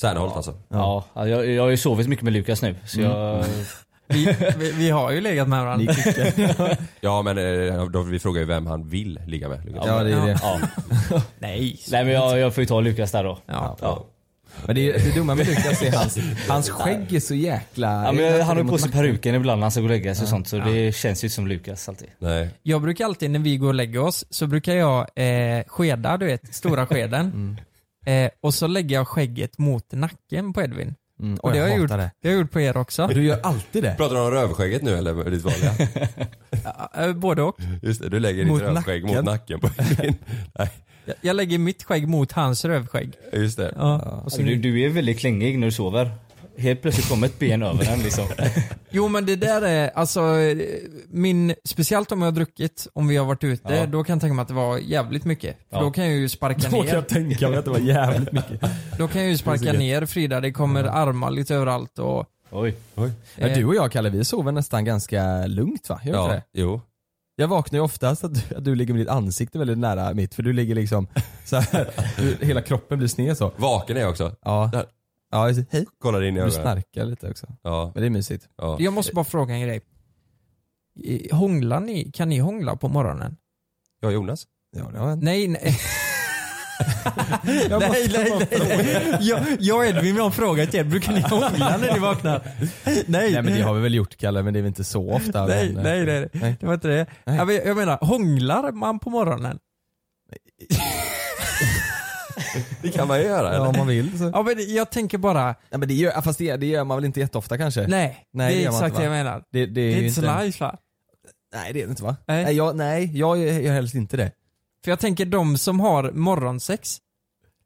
S7: Särnholt alltså.
S4: Ja, jag, jag har ju sovit mycket med Lukas nu. Så jag,
S5: Vi, vi, vi har ju legat med varandra.
S7: Ja men eh, då, vi frågar ju vem han vill ligga med. liksom. Lukas.
S6: Ja, det är det.
S4: ja.
S5: Nej.
S4: Nej men jag, jag får ju ta Lukas där då.
S5: Ja.
S7: Ja.
S6: Men det, är- det dumma med Lukas är hans, hans skägg är så jäkla...
S4: Ja, men
S6: det är
S4: jag, han har ju
S6: mot
S4: på sig
S6: nacken.
S4: peruken ibland när han ska gå och lägga sig och sånt så det känns ju inte som Lukas alltid.
S7: Nej.
S5: Jag brukar alltid när vi går och lägger oss så brukar jag eh, skeda, du vet, stora skeden. eh, och så lägger jag skägget mot nacken på Edvin.
S6: Mm,
S5: Och
S6: och
S5: det har
S6: jag
S5: jag gjort,
S6: hatar det.
S5: det har jag gjort på er också.
S6: Du gör alltid det.
S7: Pratar du om rövskägget nu eller ditt vanliga?
S5: Eh, både och.
S7: Just det, du lägger
S6: Mot
S7: ditt rövskägg
S6: nacken.
S7: mot nacken på din. Nej,
S5: Jag, jag lägger mitt skägg mot hans rövskägg.
S7: just det.
S5: Ja. Och så,
S4: Alltså, du, du är väldigt klängig när du sover. Helt plötsligt kommer ett ben över den liksom.
S5: jo men det där är, alltså, eh, min, speciellt om jag har druckit, om vi har varit ute,
S4: Ja.
S5: då kan jag tänka mig att det var jävligt mycket. För
S4: Ja.
S5: Då kan jag ju sparka
S6: Då
S5: ner.
S6: kan jag tänka mig att det var jävligt mycket.
S5: Då kan jag ju sparka ner Frida, det kommer armar lite överallt och...
S4: Oj.
S6: Ja, du och jag Kalle, vi sover nästan ganska lugnt va? Gör vi inte
S7: Ja,
S6: det?
S7: jo.
S6: Jag vaknar ju oftast att du, att du ligger med ditt ansikte väldigt nära mitt för du ligger liksom så här, du, hela kroppen blir sned så.
S7: Vaken är jag också.
S6: Ja.
S7: Där.
S6: Ja, jag säger, hej.
S7: Kollar in i
S6: Du
S7: ögonen.
S6: snarkar lite också.
S7: Ja,
S6: Men det är mysigt.
S7: ja.
S5: Jag måste bara fråga en grej. I- Hånglar ni? Kan ni hångla på morgonen?
S7: Jag och Jonas.
S6: Ja, det har hänt.
S5: Nej, nej. nej, nej, nej. Jag, jag och Edvin vi har en fråga till er. Brukar ni hångla när ni vaknar? Nej.
S6: Nej men det har vi väl gjort Kalle, men det är väl inte så ofta.
S5: nej,
S6: men,
S5: nej,
S6: eh,
S5: nej,
S6: Nej.
S5: Det var inte det.
S6: Nej.
S5: Jag, jag menar, hånglar man på morgonen?
S7: Det kan man ju göra
S6: Ja,
S7: eller?
S6: om man vill så.
S5: Ja, men jag tänker bara,
S6: Nej, men det gör, fast det, det gör man väl inte jätteofta kanske?
S5: nej.
S6: Nej,
S5: det
S6: det
S5: är
S6: gör man
S5: exakt
S6: inte,
S5: det jag
S6: va?
S5: menar.
S6: Det, det
S5: Det
S6: är
S5: är
S6: ju
S5: inte så
S6: inte...
S5: nice va?
S6: Nej det är det inte va?
S5: Nej.
S6: Nej, jag, nej, jag gör helst inte det.
S5: För jag tänker de som har morgonsex,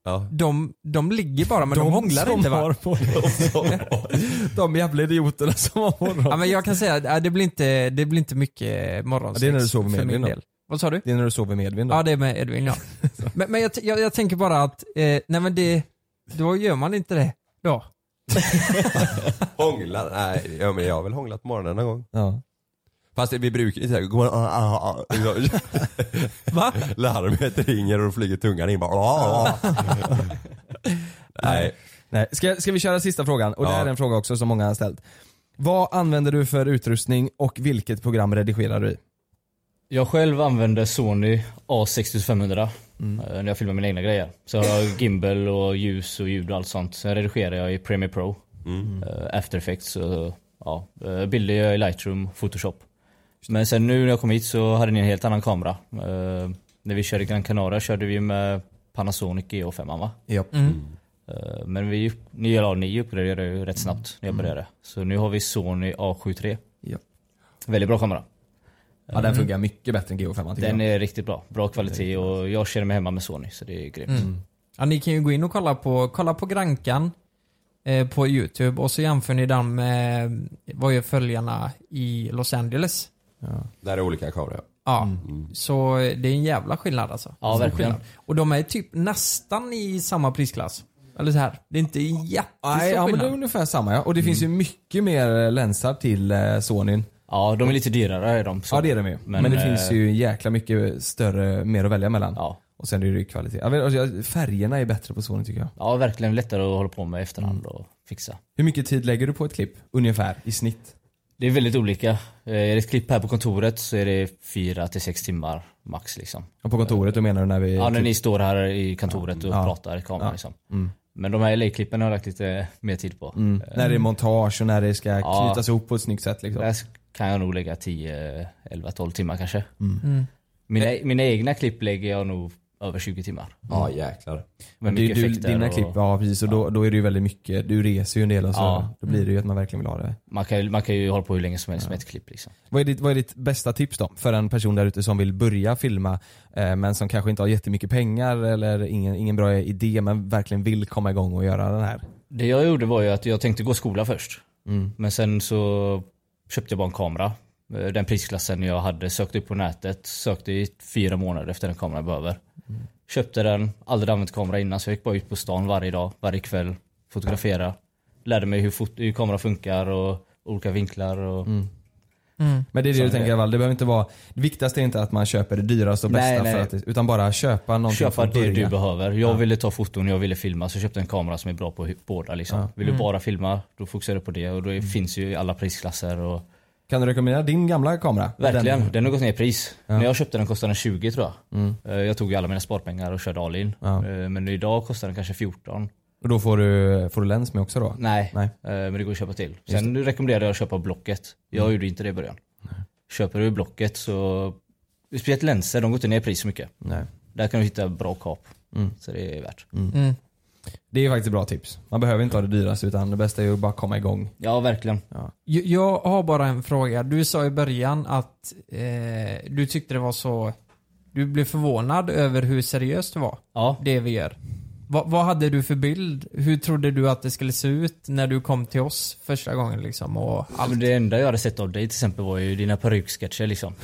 S7: Ja.
S5: de, de ligger bara men de, hånglar inte va?
S6: De jävla idioterna som har morgon.
S5: Ja, men jag kan säga att äh, det blir inte, det blir inte mycket morgonsex
S6: Ja, det är när du sover med
S5: för min
S6: Edvin då.
S5: del. Vad sa du?
S6: Det är när du sover med Edvin då?
S5: Ja det är med Edvin ja. men men jag, t- jag, jag tänker bara att, eh, nej men det, då gör man inte det då.
S7: Hångla? Nej, ja, men jag har väl hånglat på morgonen någon gång.
S6: Ja.
S7: Fast vi brukar inte säga god ah, ah, ah. Så-
S5: Va?
S7: Larmet ringer och då flyger tungan in bara ah, ah. Nej,
S6: Nej. Ska, ska vi köra sista frågan? Och det
S7: Ja.
S6: här är en fråga också som många har ställt. Vad använder du för utrustning och vilket program redigerar du i?
S4: Jag själv använder Sony A6500 eh, när jag filmar mina egna grejer. Så jag har gimbal och ljus och ljud och allt sånt. Sen redigerar jag i Premiere Pro, eh, After Effects och ja, eh, bilder gör jag i Lightroom, Photoshop. Men sen nu när jag kom hit så hade ni en helt annan kamera. Eh, När vi körde Gran Canaria körde vi med Panasonic E GH5 va?
S6: Ja.
S4: Eh, Men vi, ni, eller, ni uppgraderade ju rätt snabbt när jag började. Så nu har vi Sony A7 III.
S6: Mm. Ja.
S4: Väldigt bra kamera.
S6: Ja, den funkar mycket bättre än GH5 tycker
S4: Den
S6: jag.
S4: är riktigt bra. Bra kvalitet och jag känner mig hemma med Sony så det är grymt.
S6: Mm.
S5: Ja, ni kan ju gå in och kolla på, kolla på Grankan eh, på YouTube och så jämför ni den med vad gör följarna i Los Angeles.
S7: Där är olika kameror ja.
S5: Ja,
S6: Mm.
S5: så eh, det är en jävla skillnad alltså.
S4: Ja,
S5: Stor
S4: verkligen.
S5: skillnad. Och de är typ nästan i samma prisklass. Eller så här. det är inte en jättestor
S6: Nej, ja, men det är
S5: skillnad.
S6: ungefär samma ja. Och det
S4: Mm.
S6: finns ju mycket mer eh, länsar till eh, Sonyn.
S4: Ja, de är lite dyrare är de. så.
S6: Ja det är de ju. Men,
S4: Men,
S6: det
S4: eh,
S6: finns ju jäkla mycket större, mer att välja mellan.
S4: Ja.
S6: Och sen är det ju kvalitet. Jag vet, alltså, jag- färgerna är bättre på Sony tycker jag.
S4: Ja, verkligen lättare att hålla på med i
S6: Mm.
S4: efterhand och fixa.
S6: Hur mycket tid lägger du på ett klipp? Ungefär, i snitt?
S4: Det är väldigt olika. Eh, Är det ett klipp här på kontoret så är det 4 till 6 timmar max liksom.
S6: Och på kontoret, då menar du när vi... typ
S4: Ja, när ni står här i kontoret och pratar i kameran liksom. Men de här LA-klippen har jag lagt lite mer tid på.
S6: Mm. När det är montage och när det ska
S4: Ja.
S6: knytas ihop på ett snyggt sätt liksom.
S4: Där kan jag nog lägga 10, 11, 12 timmar kanske.
S6: Mm.
S4: Mina, mina egna klipp lägger jag nog över 20 timmar.
S7: Ja jäklar.
S4: Med
S6: Du,
S4: mycket
S6: du,
S4: effekter
S6: dina
S4: och
S6: klipp, ja precis. Och då, då är det ju väldigt mycket, du reser ju en del och så.
S4: Ja.
S6: Då blir det ju att man verkligen vill ha det.
S4: man, kan, ju- man kan ju hålla på hur länge som helst med ett klipp liksom.
S6: Vad är ditt, vad är ditt bästa tips då? För en person där ute som vill börja filma eh, men som kanske inte har jättemycket pengar eller ingen, ingen bra idé men verkligen vill komma igång och göra den här.
S4: Det jag gjorde var ju att jag tänkte gå skola först.
S6: Mm.
S4: Men sen så köpte jag bara en kamera. Eh, Den prisklassen jag hade sökte upp på nätet. Sökte i fyra månader efter den kameran jag behöver.
S6: Mm.
S4: Köpte den, aldrig använt kamera innan så jag gick bara ut på stan varje dag, varje kväll. Fotografera. Lärde mig hur, fot- hur kamera funkar och olika vinklar. Och...
S6: Mm. Men det är det du tänker Val, det behöver inte vara, det viktigaste är inte att man köper det dyraste och
S4: Nej,
S6: bästa
S4: nej.
S6: För att, det- utan bara köpa någonting
S4: Köpa
S6: från
S4: det du
S6: början.
S4: behöver. Jag ville ta foton, jag ville filma så jag köpte en kamera som är bra på hu- båda. Liksom. Vill du
S6: Mm.
S4: bara filma, då fokuserar du på det. Och då är- finns ju i alla prisklasser. Och...
S6: Kan du rekommendera din gamla kamera?
S4: Verkligen, den, har gått ner i pris. När jag köpte den kostade den 20 tror jag. Eh, Jag tog ju alla mina sparpengar och körde all in.
S6: Mm. Ja.
S4: Eh, Men idag kostar den kanske 14.
S6: Och då får du, får du lens med också då?
S4: Nej,
S6: Nej.
S4: Eh, men det går att köpa till. Sen rekommenderar jag att köpa blocket. Jag
S6: Mm.
S4: gjorde inte det i början. Köper du blocket så... Speciellt länser, de går inte ner i pris så mycket.
S6: Nej. Mm.
S4: Där kan du hitta bra kap. Så det är värt.
S6: Det är faktiskt ett bra tips. Man behöver inte ha det dyraste utan det bästa är ju att bara komma igång.
S4: Ja, verkligen.
S5: Jag- Jag har bara en fråga. Du sa i början att eh, du tyckte det var så... Du blev förvånad över hur seriöst det var.
S4: Ja.
S5: Det vi gör. Vad- vad hade du för bild? Hur trodde du att det skulle se ut när du kom till oss första gången liksom? Och
S4: Ja, men det enda jag hade sett av dig till exempel var ju dina peruksketcher liksom.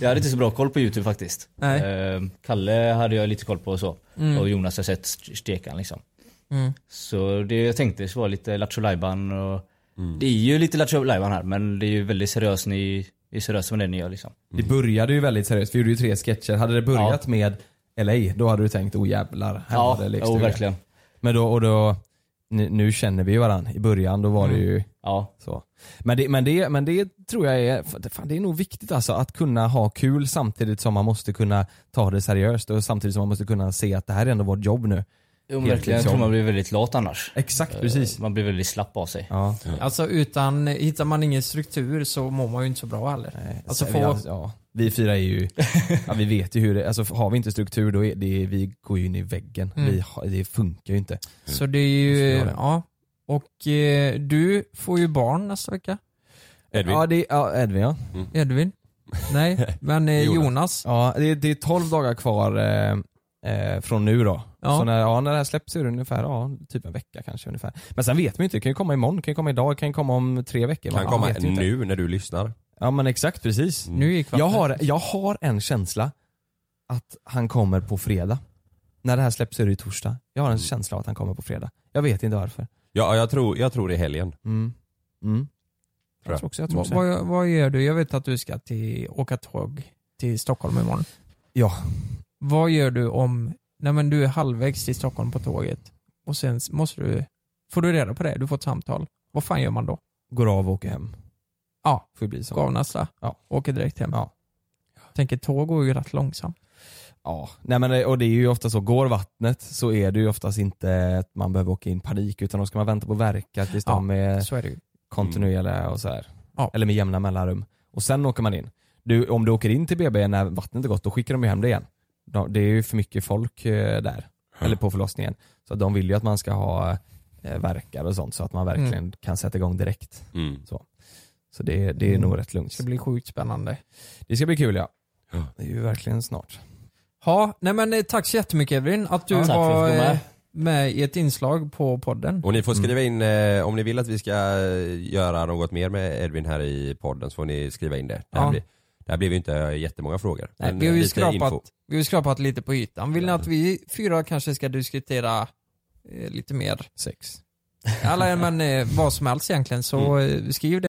S4: jag hade inte så bra koll på youtube faktiskt.
S5: Nej.
S4: Eh, Kalle hade jag lite koll på och så. Och Jonas har sett st- stekan liksom.
S5: Mm.
S4: Så det jag tänkte så var lite Lattjo Lajban och
S6: Mm.
S4: Det är ju lite Lattjo Lajban här men det är ju väldigt seriöst ni är seriösa med det ni gör liksom.
S6: Det började ju väldigt seriöst, vi gjorde ju tre sketcher. Hade det börjat med LA, då hade du tänkt oh jävlar, här
S4: Ja,
S6: var det
S4: jo,
S6: lekstuga.
S4: verkligen.
S6: Men då, och då, nu, nu känner vi ju varandra. I början då var det ju
S4: Ja.
S6: så. Men det, men det, men det tror jag är, fan, det- fan, det är nog viktigt alltså att kunna ha kul samtidigt som man måste kunna ta det seriöst och samtidigt som man måste kunna se att det här är ändå vårt jobb nu.
S4: Jo, men
S6: Helt
S4: verkligen. Jag
S6: liksom.
S4: tror man blir väldigt lat annars.
S6: Exakt, precis.
S4: Man blir väldigt slapp av sig.
S6: Ja.
S5: Alltså utan, hittar man ingen struktur så mår man ju inte så bra heller. alltså
S6: Så
S5: få,
S6: vi, har- ja, vi fyra är ju, ja, vi vet ju hur det, alltså har vi inte struktur då är det, vi går ju in i väggen. Vi har, det funkar ju inte.
S5: så det är ju, ja. Och eh, du får ju barn nästa vecka,
S7: Edvin?
S6: Ja, det, ja Edvin ja.
S5: Edvin. Nej, men eh,
S7: Jonas.
S5: Jonas.
S6: Ja, det, det är 12 dagar kvar eh, eh, från nu då.
S5: Ja.
S6: Så när, ja, när det här släpps är det ungefär ja, typ en vecka kanske. ungefär. Men sen vet man ju inte, det kan ju komma imorgon, kan ju komma idag, kan ju komma om tre veckor.
S7: Kan
S6: Man
S7: komma
S6: vet ju inte.
S7: nu Mm. när du lyssnar.
S6: Ja men exakt, precis.
S5: Nu gick
S6: Jag
S5: vattnet.
S6: har, jag har en känsla att han kommer på fredag. När det här släpps är det ju torsdag. Jag har
S7: Mm.
S6: en känsla av att han kommer på fredag. Jag vet inte varför.
S7: Ja, jag tror, jag tror det är helgen.
S6: Mm. Mm.
S7: Tror
S6: Jag
S7: jag.
S6: tror också jag tror
S5: Vad,
S6: så.
S5: vad, vad gör du? Jag vet att du ska till, åka tåg till Stockholm imorgon.
S6: Ja.
S5: Vad gör du om, nej men du är halvvägs till Stockholm på tåget och sen s- måste du, får du reda på det, du får ett samtal. Vad fan gör man då?
S6: Går av och åker hem.
S5: Ja.
S6: Får ju bli så.
S5: Gavnasta?
S6: Ja.
S5: Åker direkt hem?
S6: Ja.
S5: Tänker tåg går ju rätt långsamt.
S6: Ja, nej men det, och det är ju ofta så, går vattnet så är det ju oftast inte att man behöver åka in i panik utan då ska man vänta på verkat tills
S5: Ja.
S6: de är
S5: Så är det ju.
S6: kontinuerliga och så här.
S5: Ja.
S6: Eller med jämna mellanrum. Och sen åker man in. Du, om du åker in till BB när vattnet är gott, då skickar de ju hem det igen. De, det är ju för mycket folk eh, där, eller på förlossningen. Så att de vill ju att man
S5: Mm.
S6: ska ha eh, verkar och sånt så att man verkligen kan sätta igång direkt.
S7: Mm.
S6: Så det, det är nog rätt lugnt.
S5: Det blir sjukt spännande.
S6: Det ska bli kul ja. Det är ju verkligen snart.
S5: Ja, nej men eh, tack så jättemycket Edvin att du
S4: Ja, tack för att
S5: var
S4: du var med.
S5: eh, med i ett inslag på podden.
S7: Och ni får skriva in, eh, om ni vill att vi ska eh, göra något mer med Edvin här i podden så får ni skriva in det. Det här,
S5: Ja.
S7: blir, det här blev ju inte jättemånga frågor.
S5: Nej,
S7: men
S5: vi, har
S6: eh,
S5: ju
S7: lite info.
S5: skrapat, vi har ju skrapat lite på ytan. Vill ni att vi fyra kanske ska diskutera eh, lite mer? Sex. Alla, men eh, vad som helst egentligen så
S6: Mm.
S5: eh, skriv det.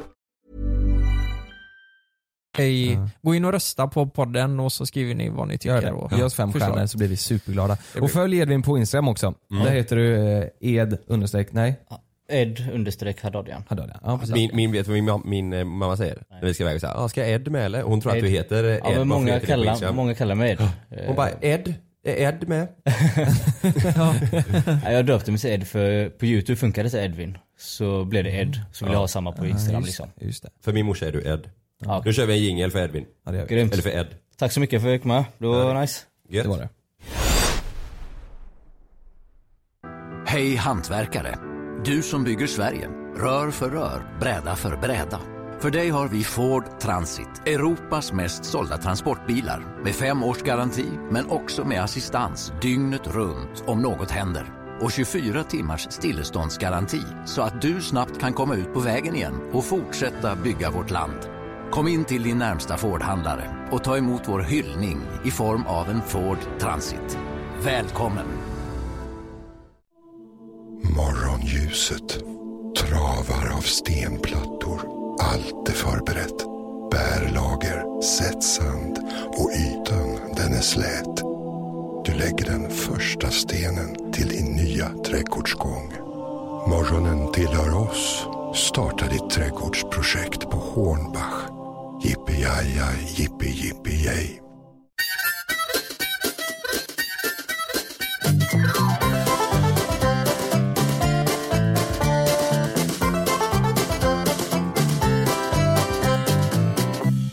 S5: I, Gå in och rösta på podden och så skriver ni vad ni
S6: Gör
S5: tycker.
S6: det.
S5: Och,
S6: Ge oss fem
S5: förslag.
S6: stjärnor så blir vi superglada. Och följ Edvin på Instagram också. Där heter du eh, Ed understreck, nej?
S4: Ed understreck Haddadian.
S6: Haddad, Ja, precis.
S7: Min, min, vet du vad min, mam- min eh, mamma säger? När vi ska iväg och säger, ah, ska Ed med eller? Hon tror att
S4: Ed.
S7: du heter eh, Ed.
S4: Ja, men
S7: varför
S4: många,
S7: heter du på
S4: kallar,
S7: Instagram?
S4: många kallar mig Ed. Eh,
S7: Hon bara, Ed? Är Ed med?
S4: Nej, jag döpte mig till Ed för på youtube funkade det till Edvin. Så blev det Ed. Så vill jag ha samma på Instagram liksom.
S6: Just det.
S7: För min morsa är du Ed.
S4: Ja.
S7: Nu kör vi en jingel för Edvin.
S6: Ja, det gör vi.
S4: Grymt.
S7: Eller för Ed.
S4: Tack så mycket för att jag fick med. Det var nice.
S7: Gött.
S6: Det var det.
S9: Hej hantverkare! Du som bygger Sverige. Rör för rör, bräda för bräda. För dig har vi Ford Transit, Europas mest sålda transportbilar. Med fem års garanti, men också med assistans dygnet runt om något händer. Och 24 timmars stilleståndsgaranti, så att du snabbt kan komma ut på vägen igen och fortsätta bygga vårt land. Kom in till din närmsta Ford-handlare och ta emot vår hyllning i form av en Ford Transit. Välkommen!
S10: Morgonljuset travar av stenplattor. Allt är förberett. Bärlager, sätt sand och ytan den är slät. Du lägger den första stenen till din nya trädgårdsgång. Morgonen tillhör oss. Starta ditt trädgårdsprojekt på Hornbach. Jippi-jaja, jippi-jippi-jej.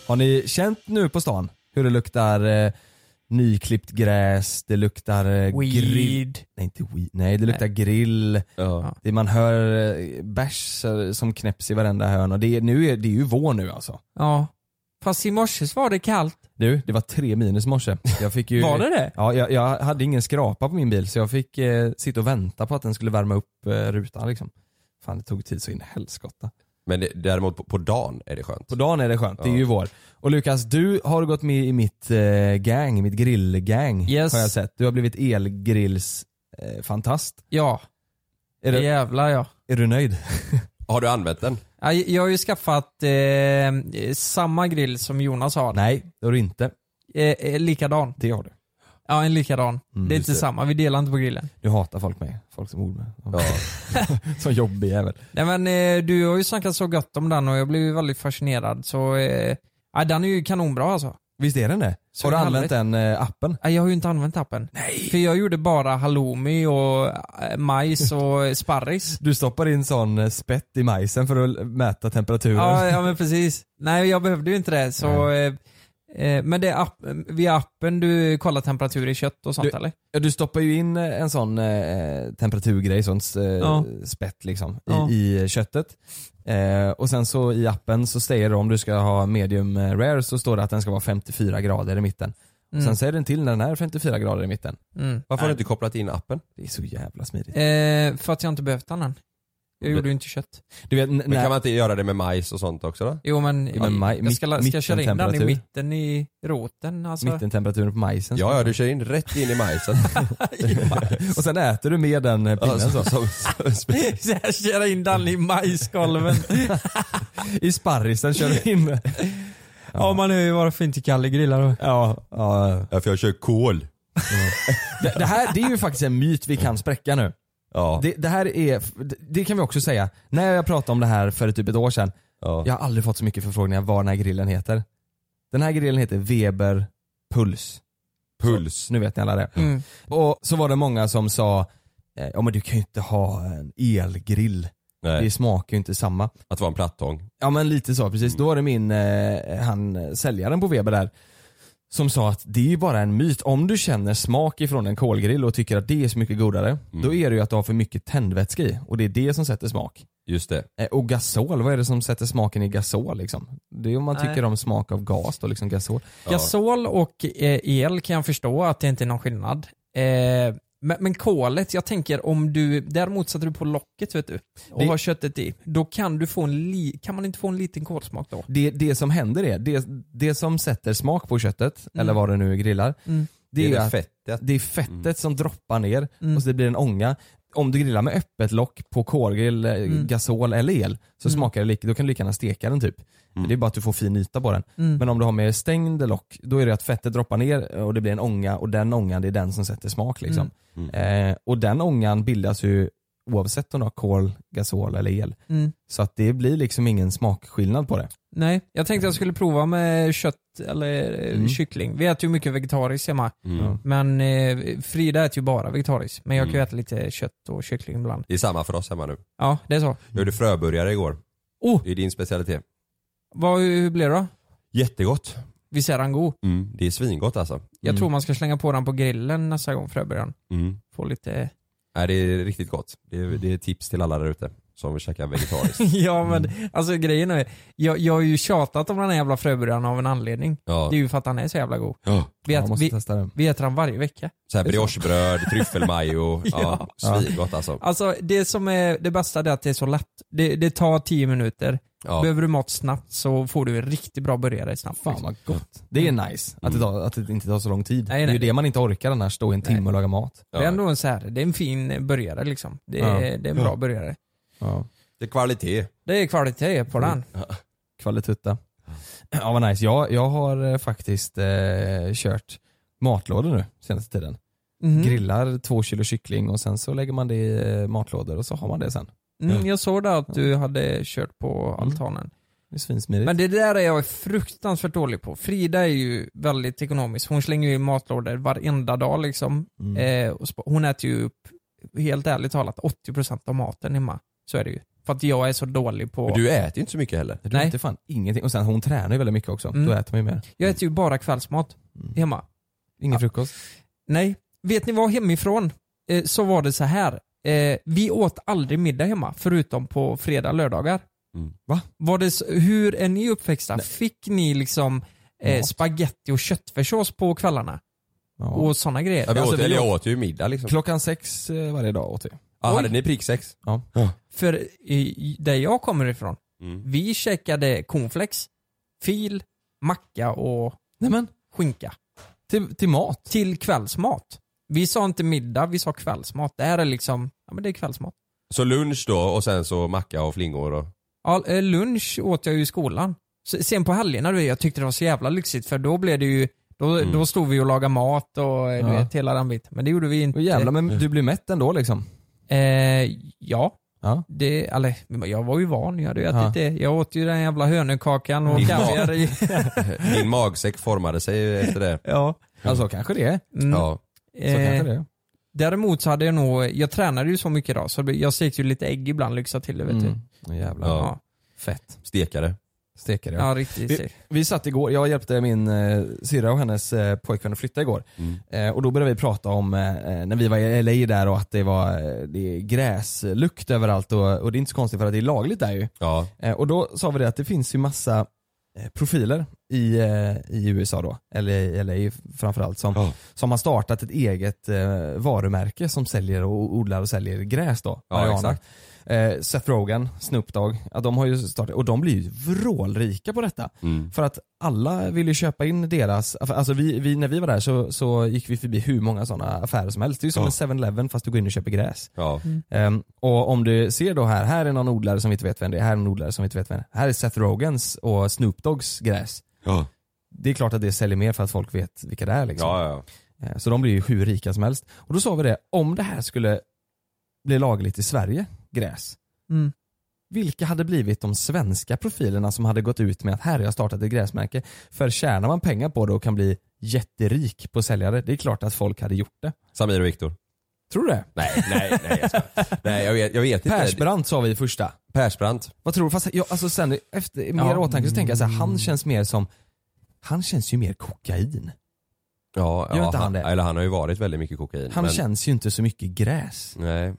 S6: Har ni känt nu på stan hur det luktar eh, nyklippt gräs, det luktar eh, grill.
S5: Weed.
S6: Nej inte weed, nej det luktar grill.
S7: Ja.
S6: Det, man hör eh, bärs eh, som knäpps i varenda hörn och det, är- nu är, det är ju vår nu alltså.
S5: Ja. Fast i morse så var det kallt.
S6: Du, det var tre minus i morse. Jag fick ju,
S5: Var det det?
S6: Ja, jag, jag hade ingen skrapa på min bil så jag fick eh, sitta och vänta på att den skulle värma upp eh, rutan liksom. Fan det tog tid så in i helskotta.
S7: Men det, däremot på, på dagen är det skönt.
S6: På dagen är det skönt, det är
S7: Ja.
S6: ju vår. Och Lukas, du har gått med i mitt eh, gang, mitt grillgang
S5: Yes.
S6: har jag sett. Du har blivit elgrillsfantast. Eh, fantast.
S5: Ja,
S6: är, du,
S5: jävlar ja.
S6: är du nöjd?
S7: Har du använt den?
S5: Ja, Jag har ju skaffat eh, samma grill som Jonas har.
S6: Nej, det har du inte.
S5: Eh, eh, likadan.
S6: Det har du.
S5: Ja, en likadan.
S6: Mm,
S5: det är inte samma, vi delar inte på grillen.
S6: Nu hatar folk mig. Folk som ord med. Ja. som jobbig jävel.
S5: Nej men eh, du har ju snackat så gott om den och jag blev ju väldigt fascinerad så... Eh, ja, den är ju kanonbra alltså.
S6: Visst är den det?
S5: Så
S6: har du
S5: jävla
S6: använt
S5: rätt.
S6: den eh, appen?
S5: Nej, Jag har ju inte använt appen. Nej. För jag gjorde bara halloumi och eh, majs och sparris.
S6: Du stoppar in sån eh, spett i majsen för att mäta temperaturen.
S5: ja, ja men precis. Nej jag behövde ju inte det så... Eh, Eh, Men det är app, via appen du kollar temperatur i kött och sånt
S6: Du-
S5: eller?
S6: Ja, du stoppar ju in eh, en sån eh, temperaturgrej, sånt eh,
S5: Ja.
S6: spett liksom, i,
S5: Ja.
S6: i köttet. Eh, och sen så i appen så säger det om du ska ha medium eh, rare så står det att den ska vara 54 grader i mitten. Och
S5: Mm.
S6: sen säger den till när den är 54 grader i mitten.
S5: Mm.
S7: Varför har du inte kopplat in appen?
S6: Det är så jävla smidigt.
S5: Eh, för att jag inte behövt den än. Jag
S7: Men-
S5: gjorde ju inte kött.
S6: Du vet, n-
S7: Men
S6: när,
S7: kan man inte göra det med majs och sånt också
S6: Mm.
S7: då?
S5: Jo men,
S6: Ja, men maj-
S5: jag ska, la- ska jag köra in den i
S6: mittentemperatur.
S5: mitten i roten alltså?
S6: mittentemperaturen på majsen.
S7: Ja, ja du kör in rätt in i majsen.
S6: Och sen äter du med den eh, pinnen
S7: Alltså,
S6: så.
S7: som, som, som,
S5: Så jag köra in den i majskolven.
S6: I sparrisen kör du in.
S5: Ja man hör ju varför inte Kalle grillar då.
S6: ja, ja.
S7: ja, för jag kör kol.
S6: Det, det här det är ju faktiskt en myt vi kan spräcka nu.
S7: Ja.
S6: Det, det här är, det kan vi också säga. När jag pratade om det här för typ ett år sedan,
S7: ja.
S6: jag har aldrig fått så mycket förfrågningar vad den här grillen heter. Den här grillen heter Weber Puls.
S7: Puls.
S6: Nu vet ni alla det.
S5: Mm.
S6: Och så var det många som sa, eh, ja men du kan ju inte ha en elgrill. Det
S7: Nej,
S6: smakar ju inte samma.
S7: att vara en plattång.
S6: Ja men lite så, precis. Då var det min, eh, han eh, säljaren på Weber där, som sa att det är ju bara en myt. Om du känner smak ifrån en kolgrill och tycker att det är så mycket godare, då är det ju att du har för mycket tändvätska i och det är det som sätter smak.
S7: Just det.
S6: Eh, Och gasol, vad är det som sätter smaken i gasol liksom? Det är om man
S5: Nej.
S6: tycker om smak av gas då, liksom gasol.
S5: Gasol och eh, el kan jag förstå att det inte är någon skillnad. Eh, men, men kolet, jag tänker om du, däremot sätter du på locket vet du och
S6: Det-
S5: har köttet i, då kan du få en, li, kan man inte få en liten kolsmak då?
S6: Det, det som händer är, det, det som sätter smak på köttet,
S5: Mm.
S6: eller vad det nu är grillar,
S5: Mm.
S6: det, är,
S7: det
S6: att
S7: fettet.
S6: det är fettet
S7: Mm.
S6: som droppar ner
S5: Mm.
S6: och så det blir en ånga. Om du grillar med öppet lock på kolgrill, eh,
S5: Mm.
S6: gasol eller el så
S5: Mm.
S6: smakar det lika, då kan du lika gärna steka den typ.
S7: Mm.
S6: Det är bara att du får fin yta på den.
S5: Mm.
S6: Men om du har med stängd lock, då är det att fettet droppar ner eh, och det blir en ånga och den ångan det är den som sätter smak liksom.
S7: Mm.
S6: Eh, och den ångan bildas ju oavsett om du har kol, gasol eller el.
S5: Mm.
S6: Så att det blir liksom ingen smakskillnad på det.
S5: Nej, jag tänkte jag skulle prova med kött eller eh,
S6: Mm.
S5: kyckling. Vi äter ju mycket vegetariskt hemma,
S7: Mm.
S6: Ja.
S5: men eh, Frida äter ju bara vegetariskt. Men jag kan ju
S7: Mm.
S5: äta lite kött och kyckling ibland.
S7: Det är samma för oss hemma nu.
S5: Ja, det är så.
S7: Jag gjorde fröburgare igår.
S5: Oh!
S7: Det är din specialitet.
S5: Vad, hur blir det då?
S7: Jättegott.
S5: Visst är den god?
S7: Mm. Det är svingott alltså.
S5: Jag tror man ska slänga på den på grillen nästa gång fröbörjan.
S7: Mm.
S5: Få lite...
S7: Nej, det är riktigt gott. Det är, det är tips till alla där ute som vill käka vegetariskt.
S5: ja men alltså grejen är, jag, jag har ju tjatat om den här jävla fröbörjan av en anledning.
S7: Ja.
S5: Det är ju för att den är så jävla god.
S7: Ja.
S5: Vi,
S6: Jag
S5: äter,
S6: måste
S5: vi,
S6: testa det.
S5: vi äter den varje vecka.
S7: Så här briochebröd, tryffelmajo. Ja, svingott alltså.
S5: Alltså det som är det bästa det är att det är så lätt. Det, det tar 10 minuter.
S7: Ja.
S5: Behöver du mat snabbt så får du en riktigt bra burgare snabbt. liksom.
S6: Fan vad gott. Liksom. Det är nice, att det, tar, att det inte tar så lång tid.
S5: Mm. Nej,
S6: Det är
S5: nej.
S6: ju det man inte orkar annars, stå i en timme
S5: Nej.
S6: och laga mat.
S5: Det är ändå en så här, det är en fin burgare liksom. Det är,
S6: Ja.
S5: det är en bra burgare.
S6: Ja.
S7: Det är kvalitet.
S5: Det är kvalitet på den.
S6: Kvalitutta. Ja vad nice. Jag, jag har eh, faktiskt eh, kört matlådor nu senaste tiden. Mm.
S5: Mhm.
S6: Grillar två kilo kyckling och sen så lägger man det i eh, matlådor och så har man det sen.
S5: Mm, jag såg där att du hade kört på
S6: Mm.
S5: altanen.
S6: Det är svinsmidigt.
S5: Men det där är jag fruktansvärt dålig på. Frida är ju väldigt ekonomisk. Hon slänger ju i matlådor varenda dag liksom.
S6: Mm.
S5: Eh, och sp- hon äter ju upp, helt ärligt talat, 80% av maten hemma. Så är det ju. För att jag är så dålig på...
S7: Men du äter ju inte så mycket heller.
S6: Du
S5: Nej.
S6: äter fan ingenting. Och sen hon tränar ju väldigt mycket också.
S5: Mm.
S6: Då äter man ju mer.
S5: Jag äter ju bara kvällsmat
S6: Mm.
S5: hemma.
S6: Ingen frukost.
S5: Nej. Vet ni vad hemifrån? Eh, så var det så här. Eh, vi åt aldrig middag hemma, förutom på fredag, lördagar.
S7: Mm.
S6: Va?
S5: Var det, så- hur är ni uppväxta? Fick ni liksom eh,
S6: Mat.
S5: spaghetti och köttfärssås på kvällarna?
S6: Ja.
S5: Och sådana grejer?
S7: Ja, vi
S6: Alltså,
S7: åt,
S6: vi
S7: eller jag
S6: åt-
S7: åt ju middag liksom.
S6: Klockan sex eh, varje dag åt vi.
S7: Ja,
S5: Oj.
S7: hade ni pricksex?
S6: Ja.
S5: För i, i- där jag kommer ifrån,
S7: Mm.
S5: vi käkade cornflakes, fil, macka och
S6: Nej men,
S5: skinka.
S6: till, till mat.
S5: Till kvällsmat. Vi sa inte middag, vi sa kvällsmat. Det här är liksom, ja men det är kvällsmat.
S7: Så lunch då och sen så macka och flingor och...
S5: Ja, eh, lunch åt jag ju i skolan. S- Sen på helgerna, du vet, jag tyckte det var så jävla lyxigt för då blev det ju, då,
S7: Mm.
S5: då stod vi och lagade mat och eh, du
S6: Ja.
S5: vet, hela den biten. Men det gjorde vi inte.
S6: Och jävlar men du blir mätt ändå liksom.
S5: Eh, ja.
S6: Ja.
S5: Det, eller, jag var ju van, jag hade ju ätit
S6: Ja.
S5: det. Jag åt ju den jävla hönökakan och
S7: Din
S5: kaviar i.
S7: Din magsäck formade sig efter det.
S5: ja.
S6: Alltså kanske det är.
S5: Mm.
S7: Ja.
S6: Så
S5: eh,
S6: kanske det är.
S5: Däremot så hade jag nog, jag tränade ju så mycket idag så jag stekte ju lite ägg ibland, lyxa till det vet du.
S6: Mm. Jävlar.
S7: Ja.
S5: Fett.
S7: Stekare.
S6: Stekare
S5: Ja, riktigt
S6: vi,
S5: stek.
S6: vi satt igår, jag hjälpte min eh, syrra och hennes eh, pojkvän att flytta igår. Eh, och då började vi prata om eh, när vi var i LA där och att det var eh, det är gräslukt överallt och, och det är inte så konstigt för att det är lagligt där ju.
S7: Ja.
S6: Eh, och då sa vi det att det finns ju massa eh, profiler i, eh, i USA då, eller i LA framförallt, som, som har startat ett eget eh, varumärke som säljer och odlar och säljer gräs då.
S7: Ja,
S6: marijuana.
S7: exakt.
S6: Eh, Seth Rogen, Snoop Dogg, ja, de har ju startat, och de blir ju vrålrika på detta.
S7: Mm.
S6: För att alla vill ju köpa in deras, alltså vi, vi, när vi var där så, så gick vi förbi hur många sådana affärer som helst. Det är ju som
S7: Ja.
S6: en 7-Eleven fast du går in och köper gräs.
S7: Ja.
S6: Ehm, och om du ser då här, här är någon odlare som vi inte vet vem det är, här är någon odlare som vi inte vet vem det är. Här är Seth Rogans och Snoop Doggs gräs.
S7: Ja.
S6: Det är klart att det säljer mer för att folk vet vilka det är liksom.
S7: Ja, ja.
S6: Eh, Så de blir ju hur rika som helst. Och då sa vi det, om det här skulle bli lagligt i Sverige, gräs,
S5: Mm.
S6: vilka hade blivit de svenska profilerna som hade gått ut med att här har jag startat ett gräsmärke? För tjänar man pengar på det och kan bli jätterik på säljare, det är klart att folk hade gjort det.
S7: Samir och Viktor.
S6: Tror du det?
S7: Nej, nej, nej jag skojar. Nej, jag vet, jag vet inte.
S6: Persbrandt sa vi i första.
S7: Persbrandt.
S6: Vad tror du? Fast jag, alltså sen efter mer
S5: Ja.
S6: åtanke så tänker jag så här, han känns mer som, han känns ju mer kokain.
S7: Ja,
S6: Gör
S7: ja,
S6: inte han det?
S7: Eller han har ju varit väldigt mycket kokain.
S6: Han
S7: men-
S6: känns ju inte så mycket gräs.
S7: Nej.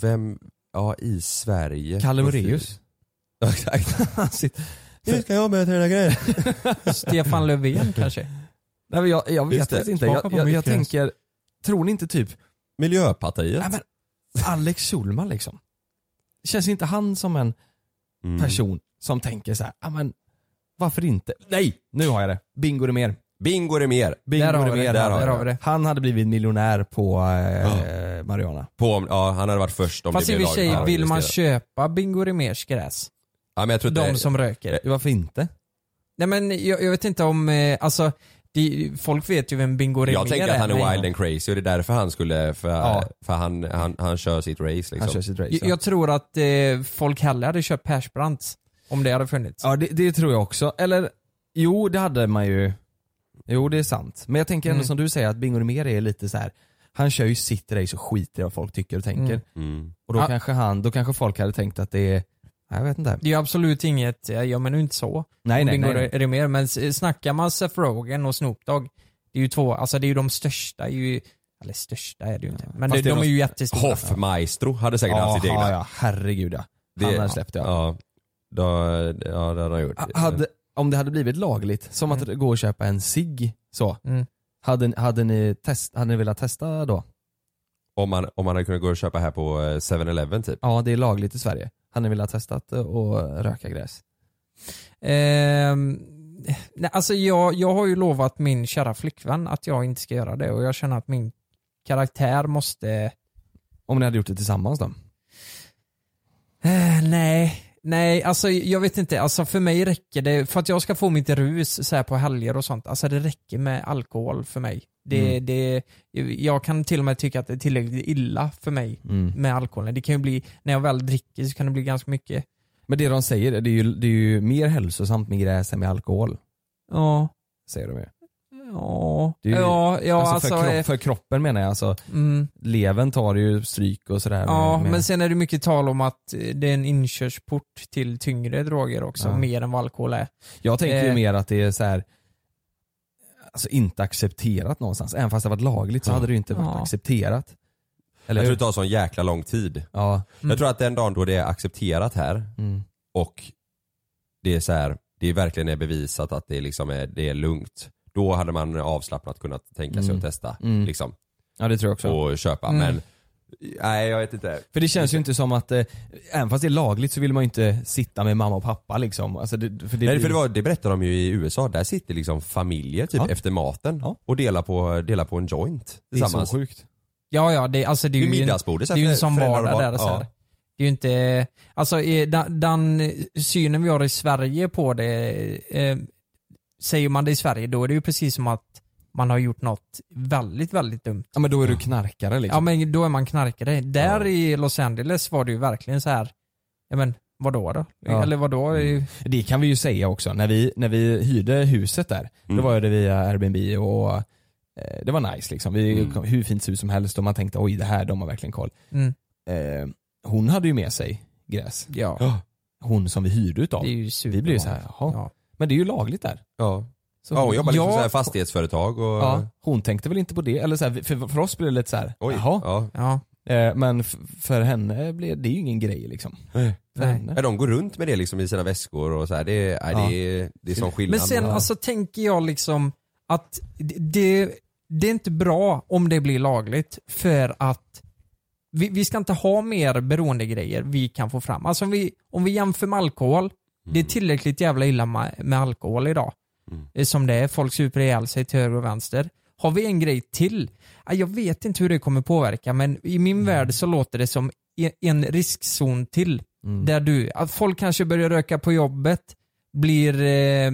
S7: Vem, ja i Sverige.
S6: Kalle Moraeus.
S7: Ja, exakt.
S6: Han sitter-
S7: Nu ska jag börja träna grejer.
S5: Stefan Löfven kanske?
S6: Nej, men jag, jag vet
S7: Just det.
S6: faktiskt inte.
S7: Smaka
S6: Jag,
S7: på
S6: jag,
S7: mitt
S6: jag
S7: gräs.
S6: tänker, tror ni inte typ,
S7: Miljöpartiet.
S6: nej men Alex Schulman liksom. Känns inte han som en
S7: Mm.
S6: person som tänker så här, ja men varför inte? Nej, nu har jag det. Bingo det mer.
S7: Bingo det mer.
S6: Bingo
S5: Där har vi
S6: mer.
S5: det, där har vi det.
S6: Han hade blivit miljonär på eh, Mariana.
S7: På, om- ja, han hade varit först om
S5: Fast
S7: det
S5: i och
S7: blev
S5: för sig,
S7: lagligt.
S5: vill man
S7: Just det.
S5: köpa Bingo Rimérs gräs?
S7: ja, men jag tror inte
S5: De som röker.
S6: Varför inte?
S5: Nej men jag, jag vet inte om, eh, alltså, det, folk vet ju vem Bingo Rimér är.
S7: Jag tänker att han är
S5: men-
S7: wild and crazy och det är därför han skulle, för,
S6: Ja.
S7: för han, han, han kör sitt race liksom.
S6: Han kör sitt race.
S5: Jag, jag tror att eh, folk hellre hade köpt Persbrandts om det hade funnits.
S6: Ja det, det tror jag också. Eller, jo det hade man ju. Jo det är sant. Men jag tänker ändå
S5: Mm.
S6: som du säger att Bingo mer är lite så här. han kör ju sitt race och skiter i vad folk tycker och tänker.
S5: Mm.
S7: Mm.
S6: Och då,
S5: Ja.
S6: kanske han, då kanske folk hade tänkt att det är, nej, jag vet inte.
S5: Det är ju absolut inget, eh, jag menar ju inte så.
S6: Nej nej
S5: Bingo
S6: nej. nej.
S5: Rimér, men s- snackar man Seth Rogen och Snoop Dogg, det är ju två, alltså det är ju de största, är ju, eller största är det ju inte, men
S6: Fast
S5: det,
S6: det är
S5: de är
S6: de-
S5: ju jättestora.
S7: Hoffmaestro hade säkert
S6: Ja,
S7: haft sitt egna.
S6: ja, ja, herregud ja.
S7: Det-
S6: han hade släppt ja.
S7: Ja, då, ja det hade han gjort.
S6: Ha- Hade, om det hade blivit lagligt, som att gå och köpa en cigg så.
S5: Mm.
S6: Hade, hade, ni test, hade ni velat testa då?
S7: Om man, om man hade kunnat gå och köpa här på eh, 7-Eleven typ.
S6: Ja det är lagligt i Sverige. Hade ni velat testa att eh, och röka gräs?
S5: Ehm, nej, alltså jag, jag har ju lovat min kära flickvän att jag inte ska göra det och jag känner att min karaktär måste
S6: Om ni hade gjort det tillsammans då?
S5: Eh, nej, nej, alltså jag vet inte. Alltså för mig räcker det, för att jag ska få mitt rus så här på helger och sånt, alltså det räcker med alkohol för mig. Det,
S6: Mm.
S5: det, jag kan till och med tycka att det är tillräckligt illa för mig
S6: Mm.
S5: med alkoholen. Det kan ju bli, när jag väl dricker så kan det bli ganska mycket.
S6: Men det de säger, det är ju, det är ju mer hälsosamt med gräs än med alkohol.
S5: Ja,
S6: Säger de ju.
S5: ja,
S6: Det är ju-
S5: ja, ja,
S6: alltså
S5: alltså,
S6: för, kropp,
S5: eh,
S6: för kroppen menar jag, alltså
S5: mm.
S6: levern tar ju stryk och sådär.
S5: Ja,
S6: med, med,
S5: men sen är det mycket tal om att eh, det är en inkörsport till tyngre droger också,
S6: Ja.
S5: mer än vad alkohol är.
S6: jag tänker ju
S5: eh,
S6: mer att det är så här. Alltså inte accepterat någonstans. Även fast det varit lagligt så hade det ju inte varit
S5: Ja.
S6: accepterat. Eller
S7: Jag tror
S6: hur?
S7: det tar sån jäkla lång tid.
S6: Ja.
S5: Mm.
S7: Jag tror att den dagen då det är accepterat här
S6: Mm.
S7: och det är så här, det är verkligen är bevisat att det liksom är, det är lugnt. Då hade man avslappnat kunnat tänka sig
S6: Mm.
S7: att testa
S6: Mm.
S7: liksom,
S6: ja, det tror jag också.
S7: och köpa.
S5: Mm.
S7: Men nej jag vet inte.
S6: För det känns ju inte som att, eh, även fast det är lagligt så vill man ju inte sitta med mamma och pappa liksom. Alltså det, för det,
S7: Nej, för det, var, det berättar de ju i USA, där sitter liksom familjer typ
S6: Ja.
S7: efter maten
S6: Ja.
S7: och delar på, delar på en joint
S6: det är så
S7: tillsammans.
S6: sjukt.
S5: Ja, ja, det, alltså det är
S7: Vid
S5: ju en
S7: middagsbordet.
S5: Det är ju en
S7: så
S5: sån
S7: att föräldrar och
S5: vardag
S7: barn-
S5: där. Så
S7: ja.
S5: här. Det är ju inte, alltså eh, den, den synen vi har i Sverige på det, eh, säger man det i Sverige då är det ju precis som att man har gjort något väldigt, väldigt dumt.
S6: Ja men då är du knarkare liksom.
S5: Ja men då är man knarkare. Där i Los Angeles var det ju verkligen så här, ja men vadå då?
S6: Ja.
S5: Eller vadå?
S6: Det kan vi ju säga också. När vi, när vi hyrde huset där, då var det via Airbnb och eh, det var nice liksom. Vi kom, hur fint hus som helst och man tänkte oj det här, de har verkligen koll.
S5: Mm.
S6: Eh, hon hade ju med sig gräs.
S5: Ja.
S6: hon som vi hyrde utav.
S5: Det är ju
S6: vi blev ju såhär, jaha. Men det är ju lagligt där.
S7: Ja.
S6: Så
S7: ja, hon jobbar liksom
S6: jag-
S7: så här fastighetsföretag och...
S6: Ja, hon tänkte väl inte på det. Eller så här, för, för oss blev det lite så här,
S7: Oj.
S6: jaha.
S7: Ja.
S6: Eh, Men f- för henne blev det är ju ingen grej liksom.
S7: Nej.
S6: För henne.
S7: Nej, de går runt med det liksom i sina väskor och så här. Det, är- nej,
S6: Ja.
S7: det, är, det är sån skillnad.
S5: Men sen
S7: Ja.
S5: alltså tänker jag liksom att det- det, det är inte bra om det blir lagligt för att vi, vi ska inte ha mer beroendegrejer vi kan få fram. Alltså om vi, om vi jämför med alkohol, det
S7: Mm.
S5: är tillräckligt jävla illa ma- med alkohol idag. Eh, Som det är, folk super ihjäl sig till höger och vänster. Har vi en grej till? Ah, Jag vet inte hur det kommer påverka men i min
S6: Mm.
S5: värld så låter det som e- en riskzon till.
S6: Mm.
S5: Där du, att folk kanske börjar röka på jobbet, blir eh,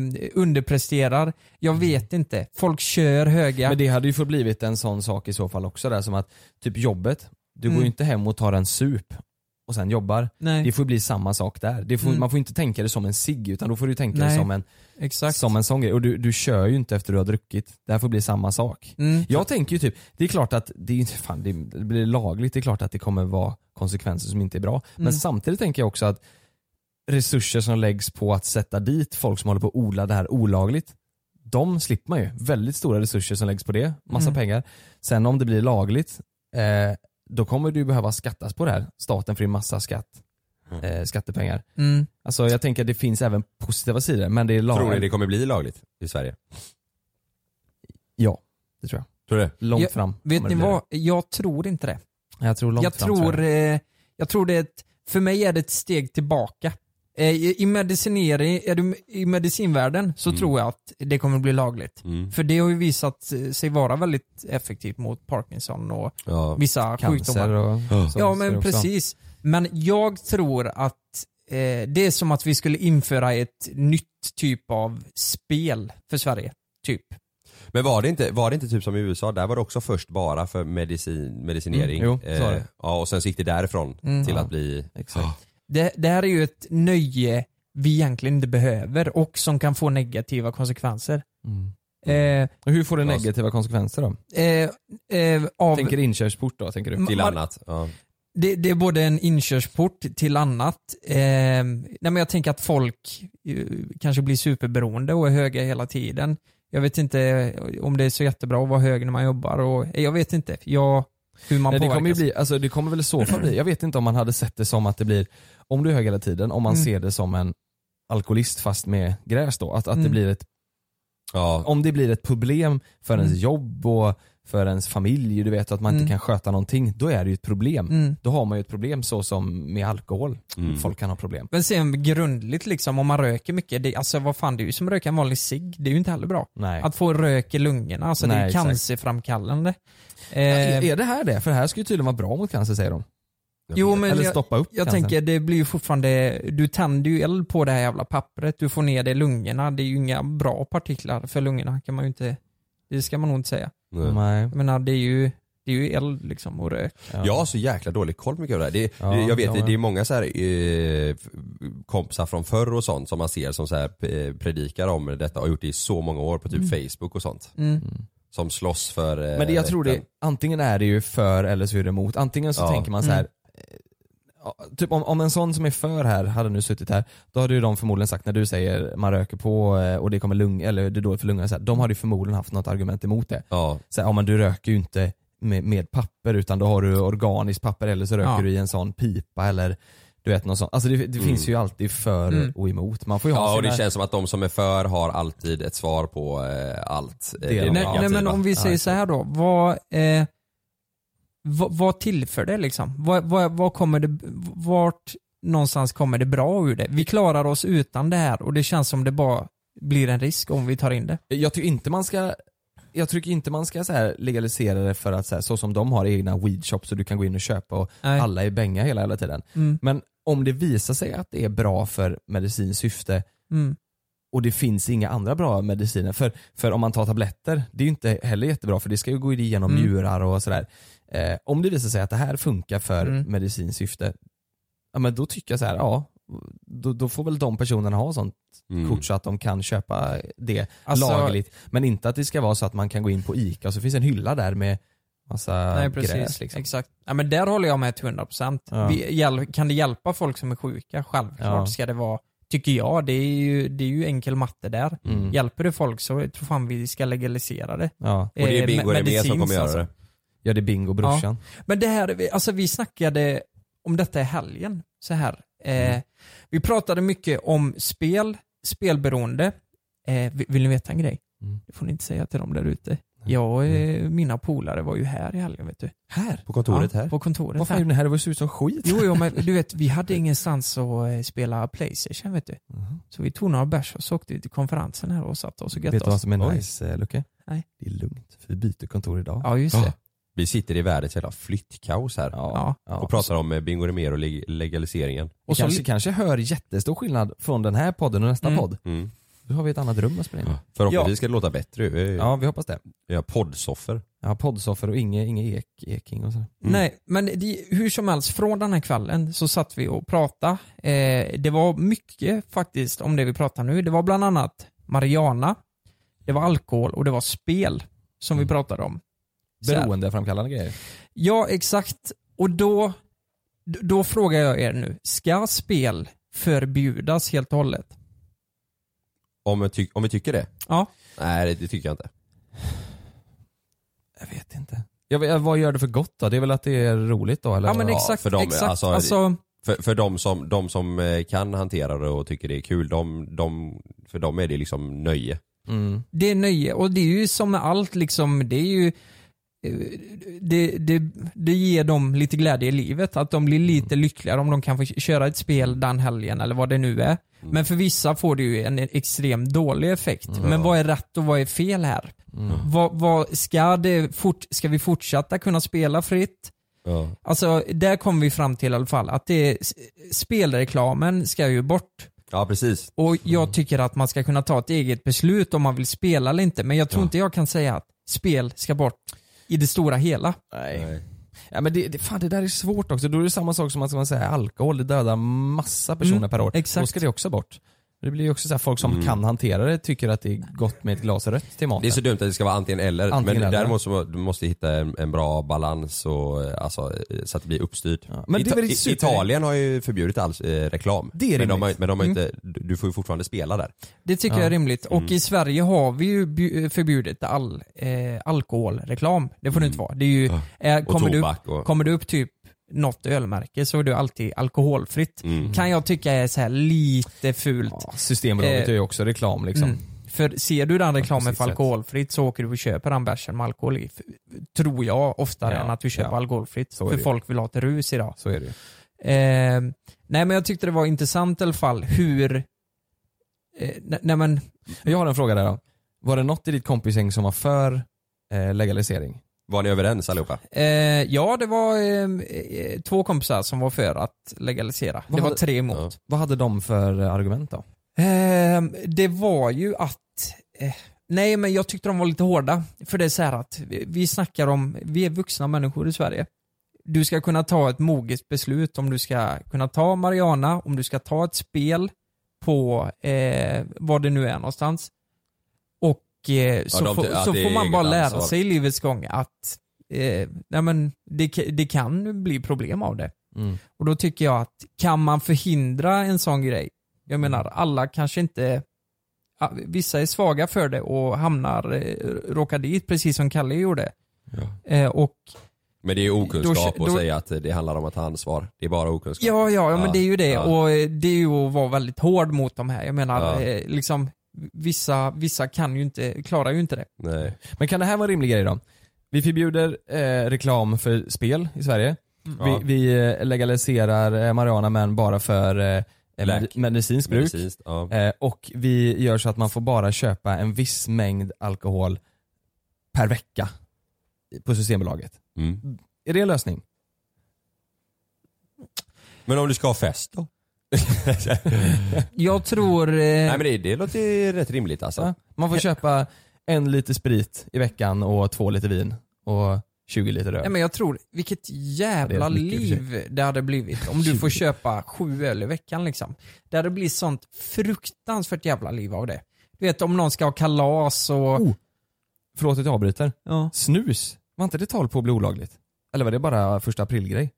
S5: underpresterar. Jag vet inte. Folk kör höga.
S6: Mm. Men det hade ju förblivit en sån sak i så fall också där som att, typ jobbet, du går
S5: Mm.
S6: ju inte hem och tar en sup och sen jobbar.
S5: Nej,
S6: Det får bli samma sak där. Det får,
S5: Mm.
S6: Man får inte tänka det som en cigg utan då får du tänka
S5: Nej.
S6: det som en,
S5: exakt.
S6: som en sån grej. Och du, du kör ju inte efter du har druckit. Det här får bli samma sak.
S5: Mm.
S6: Jag tänker ju typ, det är klart att det, är inte- fan, det blir lagligt, det är klart att det kommer vara konsekvenser som inte är bra. Men
S5: Mm.
S6: samtidigt tänker jag också att resurser som läggs på att sätta dit folk som håller på att odla det här olagligt, de slipper man ju. Väldigt stora resurser som läggs på det, massa
S5: Mm.
S6: pengar. Sen om det blir lagligt, eh, då kommer du behöva skattas på det här. Staten får ju massa skatt, eh, skattepengar.
S5: Mm.
S6: Alltså jag tänker att det finns även positiva sidor, men det är
S7: Tror ni
S6: lagligt.
S7: det kommer bli lagligt i Sverige?
S6: Ja, det tror jag.
S7: Tror du det?
S6: Långt
S5: Jag-
S6: fram.
S5: Vet
S6: kommer det
S5: ni
S6: bli
S5: vad? Jag tror inte det.
S6: det. Jag tror långt
S5: Jag
S6: fram tror jag.
S5: tror, eh, jag tror det är ett, för mig är det ett steg tillbaka. Eh, I i medicinering, är du, i medicinvärlden så
S6: Mm.
S5: tror jag att det kommer bli lagligt.
S7: Mm.
S5: För det har ju visat eh, sig vara väldigt effektivt mot Parkinson och
S7: Ja.
S5: vissa sjukdomar.
S6: cancer och sånt
S5: Ja
S6: ser det
S5: men
S6: också.
S5: precis. Men jag tror att eh, det är som att vi skulle införa ett nytt typ av spel för Sverige. Typ.
S7: Men var det, inte, var det inte typ som i USA? Där var det också först bara för medicin, medicinering. Eh,
S6: Mm, jo, så var det.
S7: ja, och sen så gick det därifrån
S5: Mm.
S7: till
S5: Ja.
S7: att bli...
S6: Exakt.
S7: Ja.
S5: Det, det här är ju ett nöje vi egentligen inte behöver och som kan få negativa konsekvenser.
S6: Mm.
S5: Eh,
S6: Och hur får det negativa konsekvenser då?
S5: eh, eh, av,
S6: Tänker inkörsport då, tänker du?
S5: Mm.
S7: Till
S5: Man-
S7: annat. Ja.
S5: det, det är både en inkörsport till annat. Eh, nej men jag tänker att folk eh, kanske blir superberoende och är höga hela tiden. Jag vet inte om det är så jättebra att vara hög när man jobbar. Och, eh, jag vet inte jag, hur man
S6: Nej, det
S5: påverkas.
S6: kommer ju bli, alltså det kommer väl i så fall bli, jag vet inte om man hade sett det som att det blir, om du är hög hela tiden, om man
S5: Mm.
S6: ser det som en alkoholist fast med gräs då, att, att det
S5: Mm.
S6: blir ett,
S7: Ja.
S6: om det blir ett problem för ens
S5: Mm.
S6: jobb och för ens familj, du vet att man
S5: Mm.
S6: inte kan sköta någonting, då är det ju ett problem.
S5: Mm.
S6: Då har man ju ett problem så som med alkohol,
S7: Mm.
S6: folk kan ha problem.
S5: Men sen grundligt liksom, om man röker mycket, det, alltså vad fan det är ju som att röka en vanlig cigg, det är ju inte heller bra.
S6: Nej.
S5: Att få rök i lungorna, alltså det är
S6: Nej,
S5: ju
S6: exakt.
S5: cancerframkallande.
S6: är,
S5: Eh,
S6: är det här det? För det här ska ju tydligen vara bra mot cancer säger de.
S5: jo men
S6: Eller
S5: jag,
S6: stoppa upp
S5: jag
S6: cancern.
S5: tänker det blir ju fortfarande, du tänder ju eld på det här jävla pappret, du får ner det i lungorna, det är ju inga bra partiklar för lungorna kan man ju inte, det ska man nog inte säga.
S7: Nej.
S6: Nej.
S5: Jag menar det är ju, det är ju eld liksom och rök.
S7: Jag har så jäkla dålig koll mycket av det här. Det,
S6: Ja,
S7: det, jag vet,
S6: jag
S7: det,
S6: med.
S7: det är många så här, eh, f- kompisar från förr och sånt som man ser som så här, eh, predikar om detta och har gjort det i så många år på typ Facebook och sånt.
S5: Mm.
S7: Som slåss för eh,
S6: Men det, jag tror det,
S7: rätten.
S6: antingen är det ju för eller så är det emot. Antingen så
S7: Ja.
S6: tänker man så här. eh, ja, Typ om, om en sån som är för här hade nu suttit här, då hade ju de förmodligen sagt när du säger man röker på eh, och det kommer lung, eller det är dåligt för lungorna, så här, de hade ju förmodligen haft något argument emot det.
S7: Ja.
S6: Så här, ja men du röker ju inte med, med papper utan då har du organiskt papper eller så röker
S5: Ja.
S6: du i en sån pipa eller du vet något sånt. Alltså det, det finns ju alltid för
S5: Mm.
S6: och emot. Man får ju
S7: Mm. Ja
S6: ha
S7: och det
S6: sina...
S7: känns som att de som är för har alltid ett svar på eh, allt. eh,
S6: Det är de.
S5: Nej,
S6: Ja,
S5: nej men
S7: negativa.
S5: om vi säger så här då, vad, eh, vad, vad tillför det liksom? Vad, vad, vad kommer det, vart någonstans kommer det bra ur det? Vi klarar oss utan det här och det känns som det bara blir en risk om vi tar in det.
S6: Jag tycker inte man ska jag tycker inte man ska så här legalisera det för att så, här, så som de har egna weedshops så du kan gå in och köpa och
S5: Nej.
S6: alla är bänga hela, hela tiden.
S5: Mm,
S6: Men om det visar sig att det är bra för medicinskt syfte
S5: mm,
S6: och det finns inga andra bra mediciner. För, för om man tar tabletter, det är ju inte heller jättebra för det ska ju gå igenom
S5: Mm.
S6: njurar och sådär. Eh, om det visar sig att det här funkar för
S5: Mm.
S6: medicinskt syfte, ja men då tycker jag så här, ja då, då får väl de personerna ha sånt
S7: Mm.
S6: kort så att de kan köpa det
S5: Alltså-
S6: lagligt. Men inte att det ska vara så att man kan gå in på ICA och så finns en hylla där med massa
S5: Nej precis,
S6: gräs liksom.
S5: exakt. Ja, men där håller jag med till 100%.
S6: Ja.
S5: Vi, hjäl- kan det hjälpa folk som är sjuka? Självklart
S6: Ja.
S5: ska det vara, tycker jag. Det är ju, det är ju enkel matte där.
S6: Mm.
S5: Hjälper det folk så tror fan vi ska legalisera det.
S6: Ja.
S5: Och det är Eh, Bingo me- Remer som kommer medicinskt göra alltså. det.
S6: Ja det är Bingo brorsan.
S5: Men det här, alltså vi snackade om detta i helgen. Så här. Eh,
S6: Mm.
S5: Vi pratade mycket om spel, spelberoende. Eh, vi- vill ni veta en grej?
S6: Mm.
S5: Det får ni inte säga till dem där ute. Jag och eh, mina polare var ju här i helgen vet du. Här?
S7: På kontoret
S5: ja,
S7: här?
S5: På kontoret
S6: Vad fan
S5: här.
S6: gjorde ni här? Det var ju så ut som skit.
S5: Jo, jo, men du vet, vi hade ingenstans att eh, spela Playstation vet du. Så vi tog några bärs och så åkte vi till konferensen här och satte oss och
S6: Mhm. Vet
S5: götte
S6: du vad
S5: oss.
S6: som är
S5: Oj.
S6: nice eh, Lucke?
S5: Nej.
S6: Det är lugnt, för vi byter kontor idag.
S5: Ja, just det.
S7: Vi sitter i världens jävla flyttkaos här
S5: Ja.
S6: Ja.
S7: och pratar om eh, Bingo Rimér och leg- legaliseringen.
S6: Och
S5: Och så,
S6: kanske, kanske hör jättestor skillnad från den här podden och nästa
S5: Mm.
S6: podd.
S7: Mm.
S6: Nu har vi ett annat rum att spela in i.
S7: Förhoppningsvis ska det låta bättre. Vi
S6: Ja, vi hoppas det.
S7: ja. poddsoffer.
S6: Ja, poddsoffer och inge, inge ek, Eking och så.
S7: Mm.
S5: Nej, men det, hur som helst, från den här kvällen så satt vi och pratade. Eh, det var mycket faktiskt om det vi pratar nu. Det var bland annat Mariana, det var alkohol och det var spel som
S6: Mm.
S5: vi pratade om. Så här.
S6: Beroendeframkallande grejer.
S5: Ja, exakt. Och då, då frågar jag er nu, ska spel förbjudas helt och hållet?
S7: Om, jag ty- om vi tycker det?
S5: Ja.
S7: Nej det, det tycker jag inte.
S6: Jag vet inte. Jag, vet- vad gör det för gott då? Det är väl att det är roligt då eller?
S5: Ja men
S7: Ja,
S5: exakt,
S7: för dem,
S5: exakt.
S7: alltså,
S5: Alltså,
S7: För, för de, som, de som eh, kan hantera det och tycker det är kul, de, de, för dem är det liksom nöje.
S6: Mm.
S5: det är nöje och det är ju som med allt liksom, det är ju eh, det, det, det ger dem lite glädje i livet, att de blir
S7: Mm.
S5: lite lyckligare om de kan få köra ett spel den helgen eller vad det nu är.
S7: Mm.
S5: Men för vissa får det ju en extremt dålig effekt. Men vad är rätt och vad är fel här?
S7: Mm.
S5: Vad, vad, ska, det fort, ska vi fortsätta kunna spela fritt?
S7: Ja.
S5: Alltså, där kommer vi fram till i alla fall att det, spelreklamen ska ju bort.
S7: Ja precis.
S5: Och
S6: Mm.
S5: jag tycker att man ska kunna ta ett eget beslut om man vill spela eller inte. Men jag tror inte jag kan säga att spel ska bort i det stora hela.
S6: Nej. Ja men det, det, fan, det där är svårt också. Då är det samma sak som att man säger alkohol, det dödar massa personer
S5: Mm,
S6: per år. Då
S5: exakt.
S6: ska det också bort. Det blir ju också så här, folk som kan hantera det tycker att det är gott med ett glas rött till maten.
S7: Mm. Det är så dumt att det ska vara antingen eller.
S6: Antingen
S7: men
S6: eller.
S7: däremot så må- du måste hitta en, en bra balans och, eh, alltså, eh, så att det blir uppstyrt.
S6: Men det är
S7: Ita-
S6: väl
S7: I-
S6: super-
S7: Italien har ju förbjudit all eh, reklam.
S6: Det är
S7: men de
S6: rimligt. Mm.
S7: har, men de har inte, du du får ju fortfarande spela där.
S5: Det tycker jag är rimligt. Och i Sverige har vi ju bju- eh, förbjudit all eh, alkoholreklam. Det får det inte
S6: Mm.
S5: vara. Det är ju, eh,
S7: Och
S5: kommer, du upp,
S7: tobak och...
S5: kommer du upp typ något ölmärke så är du alltid alkoholfritt.
S7: Mm.
S5: Kan jag tycka är så här lite fult.
S6: Ja, Systembolaget
S5: Eh,
S6: gör ju också reklam liksom.
S5: Mm. För ser du den
S6: på
S5: reklamen
S6: sitt
S5: för
S6: sätt.
S5: alkoholfritt så åker du och köper den bärsen med alkohol i. F- Tror jag oftare
S6: Ja,
S5: än att du köper
S6: ja.
S5: alkoholfritt.
S6: Så är
S5: för
S6: det ju.
S5: folk vill ha till rus idag.
S6: Så är det ju.
S5: Eh, nej men jag tyckte det var intressant i alla fall hur... Eh, ne- nej men,
S6: Jag har en fråga där då. Var det något i ditt kompisgäng som var för eh, legalisering?
S7: Var ni överens allihopa?
S5: eh, ja det var eh, eh, två kompisar som var för att legalisera.
S6: Vad
S5: det var
S6: hade-
S5: tre emot.
S6: Vad hade de för eh, argument då?
S5: Eh, det var ju att... Eh, nej men jag tyckte de var lite hårda. För det är så här att vi, vi snackar om, vi är vuxna människor i Sverige. Du ska kunna ta ett moget beslut om du ska kunna ta Mariana, om du ska ta ett spel på eh, vad det nu är någonstans. Och eh, så,
S7: Ja, de-
S5: får,
S7: att
S5: så
S7: det är
S5: får man
S7: eget
S5: bara lära
S7: ansvar.
S5: sig i livets gång att eh, nej men, det, ka- det kan bli problem av det.
S6: Mm.
S5: Och då tycker jag att kan man förhindra en sån grej? Jag menar, alla kanske inte ja, Vissa är svaga för det och hamnar, eh, råkar dit precis som Kalle gjorde. Eh, och
S7: Men det är ju okunskap
S5: Då-
S7: att
S5: då-
S7: säga att det handlar om att ta ansvar. Det är bara okunskap.
S5: Ja, ja, ja men
S7: Ja,
S5: det är ju det.
S7: ja.
S5: Och eh, det är ju att vara väldigt hård mot de här. Jag menar,
S7: Ja.
S5: eh, liksom, vissa, vissa kan ju inte, klarar ju inte det.
S7: Nej.
S6: Men kan det här vara en rimlig grej då? Vi förbjuder eh, reklam för spel i Sverige.
S7: Ja.
S6: Vi, vi eh, legaliserar eh, marijuana men bara för eh, med,
S7: Läk.
S6: medicinskt bruk.
S7: Medicinskt, ja.
S6: Eh, och vi gör så att man får bara köpa en viss mängd alkohol per vecka på Systembolaget.
S7: Mm.
S6: Är det en lösning?
S7: Men om du ska ha fest då?
S5: Jag tror... Eh,
S7: Nej men det, det låter ju rätt rimligt alltså.
S6: Ja. Man får köpa en liter sprit i veckan och två liter vin och 20 liter öl.
S5: Nej, men jag tror, vilket
S6: Ja,
S5: jävla
S6: det är mycket i och för sig.
S5: liv det hade blivit om du får köpa sju öl i veckan liksom. Det hade blivit sånt fruktansvärt jävla liv av det. Du vet om någon ska ha kalas och...
S6: Oh. Förlåt att jag avbryter.
S5: Ja.
S6: Snus Var inte det tal på att bli olagligt? Eller var det bara första aprilgrej?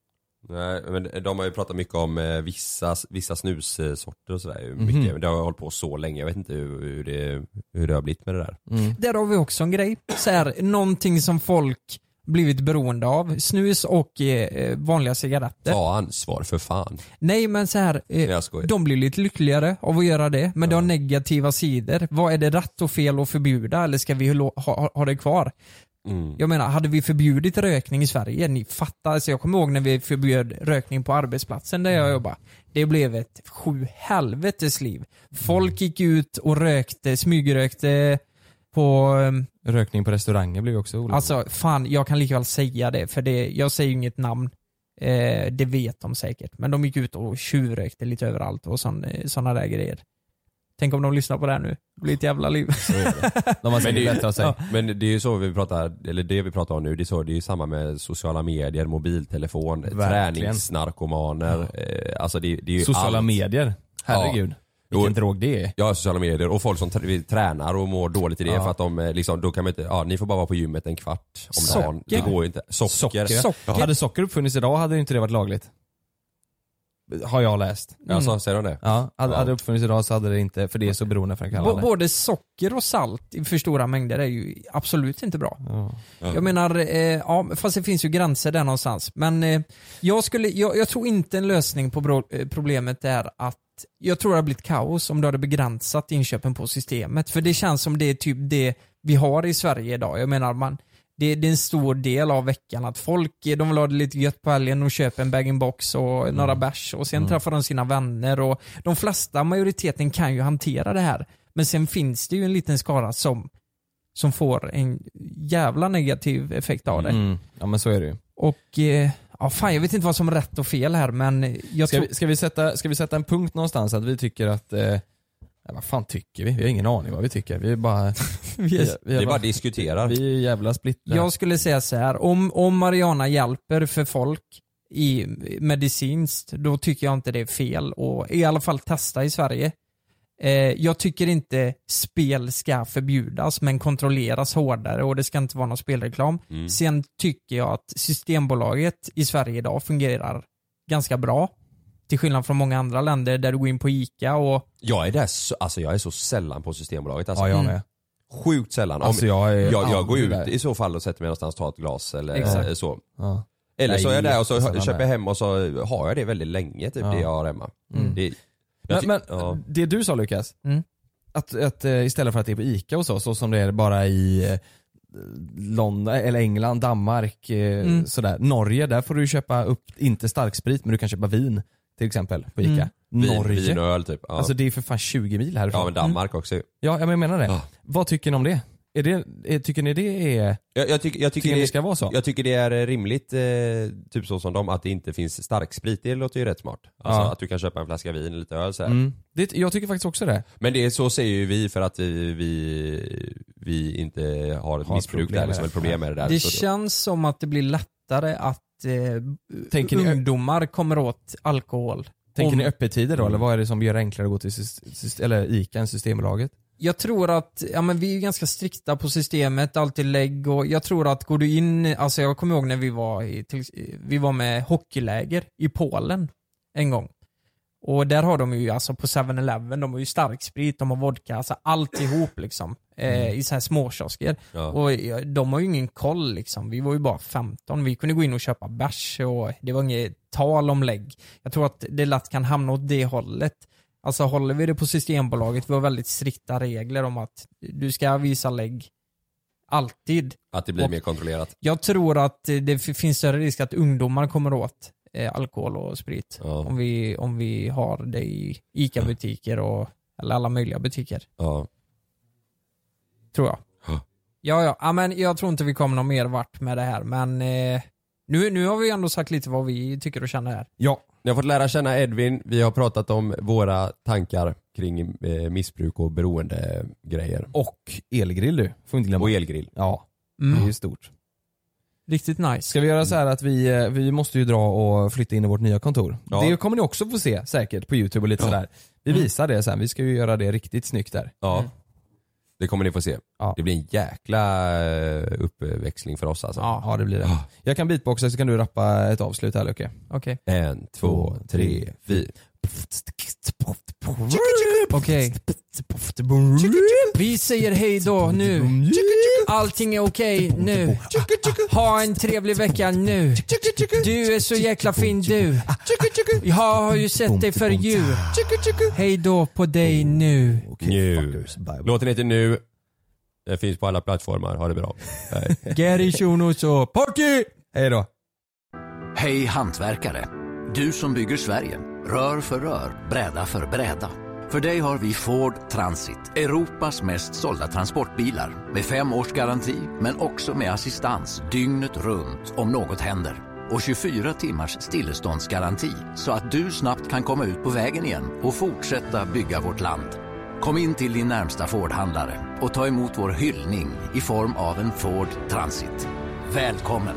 S7: Nej, men de har ju pratat mycket om eh, vissa, vissa snussorter och sådär. ju
S6: Mhm.
S7: Mycket. Men Det har jag hållit på så länge, jag vet inte hur, hur, det, hur det har blivit med det där.
S6: Mm.
S5: Där har vi också en grej. Så här, någonting som folk blivit beroende av. Snus och eh, vanliga cigaretter.
S7: Ta ansvar för fan.
S5: Nej men så här, eh,
S7: Jag skojar.
S5: de blir lite lyckligare av att göra det. Men det har negativa sidor. Vad är det rätt och fel att förbjuda eller ska vi lo- ha, ha, ha det kvar?
S7: Mm.
S5: Jag menar, hade vi förbjudit rökning i Sverige, ni fattar, alltså jag kommer ihåg när vi förbjöd rökning på arbetsplatsen där
S7: Mm.
S5: jag jobbade. Det blev ett sju helvetes liv. Folk gick ut och rökte, smygrökte på... ehm,
S6: Rökning på restauranger blev ju också olagligt.
S5: Alltså fan, jag kan lika väl säga det, för det, jag säger ju inget namn. Eh, det vet de säkert. Men de gick ut och tjuvrökte lite överallt och sådana där grejer. Tänk om de lyssnar på det här nu. Det blir ett jävla liv.
S6: De har
S7: Men
S6: säkert
S7: det,
S6: bättre
S7: är,
S6: att säga.
S7: men det är ju så vi pratar, eller det vi pratar om nu, det är, så, det är ju samma med sociala medier, mobiltelefon,
S6: Verkligen.
S7: träningsnarkomaner. Eh, alltså det, det är ju
S6: Sociala
S7: allt.
S6: medier. Herregud.
S7: Jo.
S6: Vilken drog det är.
S7: Ja, sociala medier och folk som tr- tränar och mår dåligt i det
S6: Ja.
S7: för att de eh, liksom, då kan man inte, ja ni får bara vara på gymmet en kvart om dagen. Det
S5: Socker.
S7: går ju inte. Socker.
S6: Socker.
S7: Ja.
S6: Hade socker uppfunnits idag hade inte det varit lagligt. Har jag läst.
S7: Alltså, säger de det?
S6: Ja, hade,
S7: Ja.
S6: hade det uppfunnits idag så hade det inte, för det är så
S5: B-
S6: beroendeframkallande.
S5: både socker och salt i för stora mängder är ju absolut inte bra.
S6: Ja.
S5: Jag menar, eh, ja, fast det finns ju gränser där någonstans. Men eh, jag, skulle, jag, jag tror inte en lösning på bro, eh, problemet är att jag tror det har blivit kaos om du hade begränsat inköpen på systemet. För det känns som det är typ det vi har i Sverige idag. Jag menar, man, det, det är en stor del av veckan att folk eh, de vill ha det lite gött på helgen och köper en bag-in-box och
S6: Mm.
S5: några bärs och sen träffar de sina vänner och de flesta, majoriteten kan ju hantera det här. Men sen finns det ju en liten skara som som får en jävla negativ effekt av det.
S6: Mm. ja men så är det ju.
S5: Och eh, ja, fan jag vet inte vad som är rätt och fel här men jag
S6: Ska
S5: tror...
S6: vi, ska, vi sätta, ska vi sätta en punkt någonstans att vi tycker att, eh, nej, vad fan tycker vi? Vi har ingen aning vad vi tycker. Vi är bara, vi är, vi
S7: Vi
S6: är
S7: bara
S6: bara,
S7: diskuterar.
S6: vi är jävla splittrade.
S5: Jag skulle säga så här, om, om Mariana hjälper för folk i medicinskt, då tycker jag inte det är fel och i alla fall testa i Sverige. Eh, jag tycker inte spel ska förbjudas men kontrolleras hårdare och det ska inte vara någon spelreklam. Sen tycker jag att Systembolaget i Sverige idag fungerar ganska bra. Till skillnad från många andra länder där du går in på ICA och
S7: Jag är där så, alltså jag är så sällan på Systembolaget. Alltså,
S6: ja jag
S5: Mm.
S6: med.
S7: Sjukt sällan. Om,
S6: Alltså jag är
S7: jag, jag, går
S6: aldrig
S7: ut
S6: där.
S7: i så fall och sätter mig någonstans och tar ett glas eller
S5: Exakt.
S7: eh, så.
S6: Ja.
S7: Eller så är jag
S6: Nej,
S7: där och så hö-
S6: jättesällan
S7: köper
S6: där.
S7: jag hem och så har jag det väldigt länge typ
S6: Ja.
S7: det jag har hemma.
S6: Mm.
S7: Det, jag
S6: Men,
S7: ty-
S6: men eh,
S7: ja.
S6: det du sa Lukas,
S5: Mm.
S6: att, att eh, istället för att det är på ICA och så, så som det är bara i eh, London, eller England, Danmark, eh,
S5: Mm.
S6: sådär. Norge, där får du ju köpa upp, inte starksprit, men du kan köpa vin till exempel på ICA.
S5: Mm.
S7: Vin,
S6: Norge.
S7: vin och öl typ. Ja,
S6: Alltså mm. det är för fan 20 mil härifrån.
S7: ja men Danmark också ju.
S6: Ja, men jag menar det.
S7: Ja.
S6: Vad tycker ni om det? Är det är, tycker ni det är,
S7: Jag, jag, tycker,
S6: tycker
S7: jag, tycker
S6: ni det
S7: det,
S6: ska vara så?
S7: jag tycker det är rimligt, eh, typ så som de, att det inte finns starksprit. Det låter ju rätt smart. Alltså
S6: Ja.
S7: att du kan köpa en flaska vin, lite öl så här.
S6: Mm. Det, jag tycker faktiskt också det.
S7: Men det är, så säger ju vi för att vi, vi, vi inte har ett
S6: Har
S7: missbruk
S6: problem
S7: där,
S6: med
S7: liksom,
S6: det.
S7: ett problem med det där.
S5: Det
S7: Så-
S5: känns som att det blir lättare att eh,
S6: Tänker ni-
S5: ungdomar kommer åt alkohol.
S6: Tänker
S5: Om-
S6: ni öppettider
S7: Mm.
S6: då, eller vad är det som gör det enklare att gå till syst- syst- eller ICA än Systembolaget?
S5: Jag tror att, ja men vi är ju ganska strikta på systemet, alltid lägg och jag tror att går du in, alltså jag kommer ihåg när vi var i, till, vi var med hockeyläger i Polen en gång. Och där har de ju alltså på 7-Eleven, de har ju starksprit, de har vodka, alltså alltihop liksom.
S6: Mm.
S5: Eh, I så här småkiosker.
S7: Ja.
S5: Och ja, de har ju ingen koll liksom. Vi var ju bara 15, vi kunde gå in och köpa bärs och det var inget tal om lägg. Jag tror att det lätt kan hamna åt det hållet. Alltså håller vi det på Systembolaget, vi har väldigt strikta regler om att du ska visa lägg alltid.
S7: Att det blir
S5: Och-
S7: mer kontrollerat.
S5: Jag tror att eh, det f- finns större risk att ungdomar kommer åt eh, alkohol och sprit.
S7: Ja.
S5: Om, vi, om vi har det i ICA-butiker och eller alla möjliga butiker,
S7: Ja.
S5: tror jag.
S7: Ja.
S5: Ja, ja, ja, men jag tror inte vi kommer någon mer vart med det här, men eh, nu, nu har vi ändå sagt lite vad vi tycker och känner här.
S6: Ja.
S7: Ni har fått lära känna Edvin, vi har pratat om våra tankar kring eh, missbruk och beroendegrejer.
S6: Och elgrill du, får inte glömma.
S7: Och elgrill.
S6: Ja, det är
S5: Mm.
S6: ju stort.
S5: Riktigt nice.
S6: Ska vi göra så här att vi, eh, vi måste ju dra och flytta in i vårt nya kontor.
S7: Ja.
S6: Det kommer ni också få se säkert på youtube och lite sådär. Vi visar det sen, vi ska ju göra det riktigt snyggt där.
S7: Ja. Mm. Det kommer ni få se. Det blir en jäkla eh, uppväxling för oss alltså.
S11: Ja, det blir det. Jag kan beatboxa så kan du rappa ett avslut här Lucke.
S5: Okej.
S7: En, två, tre, fyra.
S5: Okej. Vi säger hej då nu. Allting är okej nu. Ha en trevlig vecka nu. Du är så jäkla fin du. Jag har ju sett dig för djur. Hej då på dig nu.
S7: Nu.
S6: Mm.
S7: Låten heter Nu. Den finns på alla plattformar. Ha det bra. Hej.
S5: Gary Shunos och Party!
S11: Hej då.
S6: Hej hantverkare! Du som bygger Sverige, rör för rör, bräda för bräda. För dig har vi Ford Transit, Europas mest sålda transportbilar. Med fem års garanti, men också med assistans dygnet runt om något händer. Och 24 timmars stilleståndsgaranti, så att du snabbt kan komma ut på vägen igen och fortsätta bygga vårt land. Kom in till din närmsta Ford-handlare och ta emot vår hyllning i form av en Ford Transit. Välkommen!